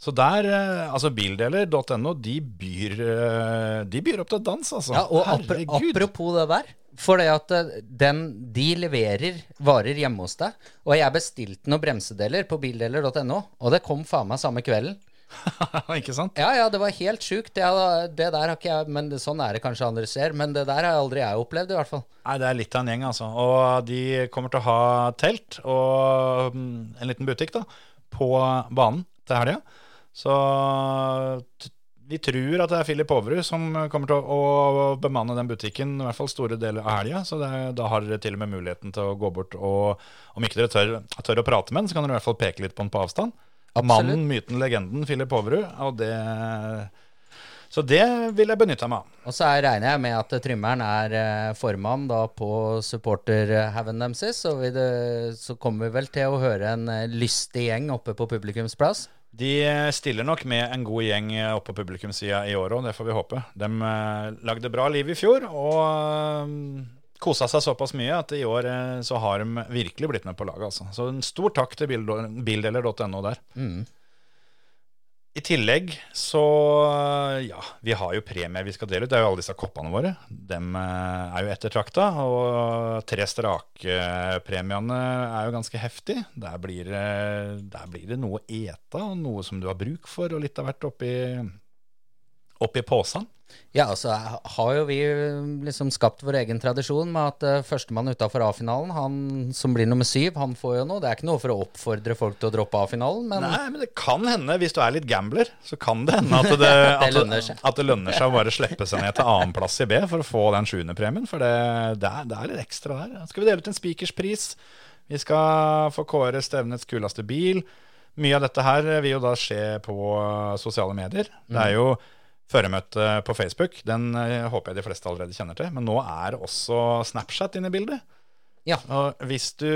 [SPEAKER 2] Så der, eh, altså bildeler.no, de byr eh, De byr opp til dans, altså.
[SPEAKER 6] Ja, og apro- apropos det der. For det at eh, den, de leverer varer hjemme hos deg. Og jeg bestilte noen bremsedeler på bildeler.no, og det kom faen meg samme kvelden.
[SPEAKER 2] ikke sant?
[SPEAKER 6] Ja, ja, det var helt sjukt. Det, hadde- det der har ikke jeg Men det, sånn er det kanskje andre ser. Men det der har aldri jeg opplevd, i hvert fall.
[SPEAKER 2] Nei, det er litt av en gjeng, altså. Og de kommer til å ha telt og mm, en liten butikk da, på banen til helga. Så t- vi tror at det er Philip Overud som kommer til å å bemanne den butikken, i hvert fall store deler av helga. Så det, da har dere til og med muligheten til å gå bort og Om ikke dere tør, tør å prate med den, så kan dere i hvert fall peke litt på den på avstand.
[SPEAKER 6] Absolutt.
[SPEAKER 2] Mannen, myten, legenden Philip Overud. Og det Så det vil jeg benytte meg av.
[SPEAKER 6] Og så er, regner jeg med at trymmeren er eh, formann da på supporterhaugen deres. Så, vil det- så kommer vi vel til å høre en eh, lystig gjeng oppe på publikumsplass.
[SPEAKER 2] De stiller nok med en god gjeng oppe på publikumssida i år òg, det får vi håpe. De eh, lagde bra liv i fjor, og eh, kosa seg såpass mye at i år eh, så har de virkelig blitt med på laget. Altså. Så en stor takk til bil- bildeler.no der.
[SPEAKER 6] Mm.
[SPEAKER 2] I tillegg så ja, vi har jo premier vi skal dele ut. Det er jo alle disse koppene våre. Dem eh, er jo ettertrakta. Og tre strake-premiene er jo ganske heftig. Der blir, det- der blir det noe å ete og noe som du har bruk for, og litt av hvert oppi, oppi posen.
[SPEAKER 6] Ja, altså har jo vi liksom skapt vår egen tradisjon med at eh, førstemann utafor A-finalen, han som blir nummer syv, han får jo noe. Det er ikke noe for å oppfordre folk til å droppe A-finalen, men
[SPEAKER 2] Nei, men det kan hende, hvis du er litt gambler, så kan det hende at det, at
[SPEAKER 6] lønner
[SPEAKER 2] det,
[SPEAKER 6] seg.
[SPEAKER 2] at det lønner seg å bare slippe seg ned til annenplass i B for å få den sjuende premien, for det, det, er, det er litt ekstra der. Skal vi dele ut en speakerspris? Vi skal få kåre stevnets kuleste bil. Mye av dette her vil jo da skje på sosiale medier. Det
[SPEAKER 6] Mm.
[SPEAKER 2] er jo føremøte på Facebook, den eh, håper jeg de fleste allerede kjenner til, men nå er det også Snapchat inne i bildet.
[SPEAKER 6] Ja.
[SPEAKER 2] Og hvis du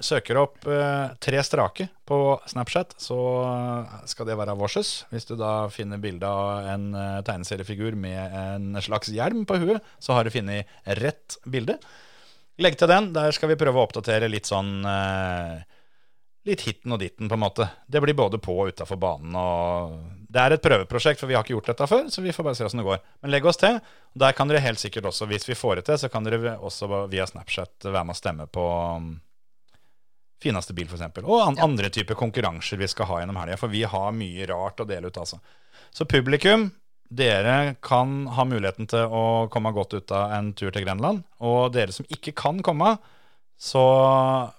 [SPEAKER 2] søker opp eh, tre strake på Snapchat, så eh, skal det være vårses. Hvis du da finner bilde av en eh, tegneseriefigur med en slags hjelm på huet, så har du funnet rett bilde. Legg til den. Der skal vi prøve å oppdatere litt sånn eh, Litt hitten og ditten, på en måte. Det blir både på og utafor banen. og Det er et prøveprosjekt, for vi har ikke gjort dette før. Så vi får bare se åssen det går. Men legg oss til. Der kan dere helt sikkert også, hvis vi får det til, så kan dere også via Snapchat være med å stemme på um, fineste bil, f.eks. Og an andre typer konkurranser vi skal ha gjennom helga. For vi har mye rart å dele ut, altså. Så publikum, dere kan ha muligheten til å komme godt ut av en tur til Grenland. Og dere som ikke kan komme, så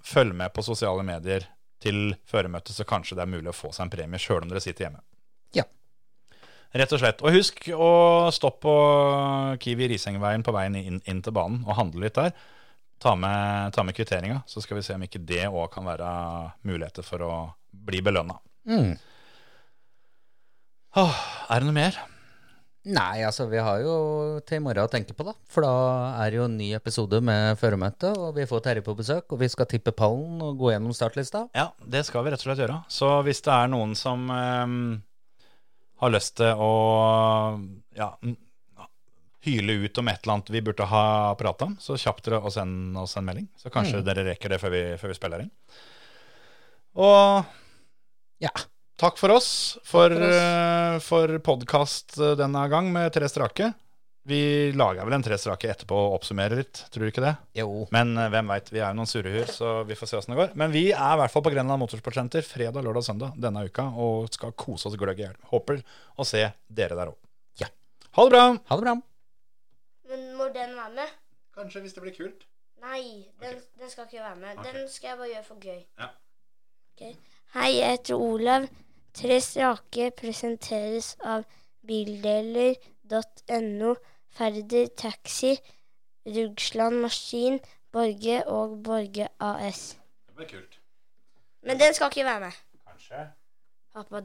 [SPEAKER 2] følg med på sosiale medier til føremøtet, så kanskje det er mulig å få seg en premie, sjøl om dere sitter hjemme.
[SPEAKER 6] Ja.
[SPEAKER 2] Rett og slett. Og husk å stoppe på Kiwi Risengveien på veien inn, inn til banen og handle litt der. Ta med, ta med kvitteringa, så skal vi se om ikke det òg kan være muligheter for å bli belønna.
[SPEAKER 6] mm.
[SPEAKER 2] Åh, er det noe mer?
[SPEAKER 6] Nei, altså vi har jo til i morgen å tenke på, da. For da er det jo en ny episode med føremøte, og vi får Terje på besøk, og vi skal tippe pallen og gå gjennom startlista.
[SPEAKER 2] Ja, det skal vi rett og slett gjøre. Så hvis det er noen som ehm, har lyst til å ja, m- hyle ut om et eller annet vi burde ha prata om, så kjapt dere å sende oss en melding. Så kanskje
[SPEAKER 6] Mm.
[SPEAKER 2] dere rekker det før vi, før vi spiller inn. Og
[SPEAKER 6] Ja.
[SPEAKER 2] takk for oss for,
[SPEAKER 6] for oss.
[SPEAKER 2] eh, for podkast denne gang med Tre strake. Vi lager vel en Tre strake etterpå og oppsummerer litt, tror du ikke det?
[SPEAKER 6] Jo.
[SPEAKER 2] Men eh, hvem veit, vi er jo noen surrehuer, så vi får se åssen det går. Men vi er i hvert fall på Grenland Motorsportsenter fredag, lørdag og søndag denne uka og skal kose oss gløgg i hjel. Håper å se dere der òg.
[SPEAKER 6] Ja.
[SPEAKER 2] Ha det bra!
[SPEAKER 6] Ha det bra.
[SPEAKER 1] Men må den være med?
[SPEAKER 2] Kanskje hvis det blir kult.
[SPEAKER 1] Nei, den, den skal ikke være med. Den skal jeg bare gjøre for gøy.
[SPEAKER 2] Ja.
[SPEAKER 1] Ok. Hei, jeg heter Olav. Tre strake presenteres av bildeler.no, Ferder Taxi, Rugsland Maskin, Borge og Borge AS.
[SPEAKER 2] Det blir kult.
[SPEAKER 1] Men den skal ikke være med.
[SPEAKER 2] Kanskje.
[SPEAKER 1] Pappa, den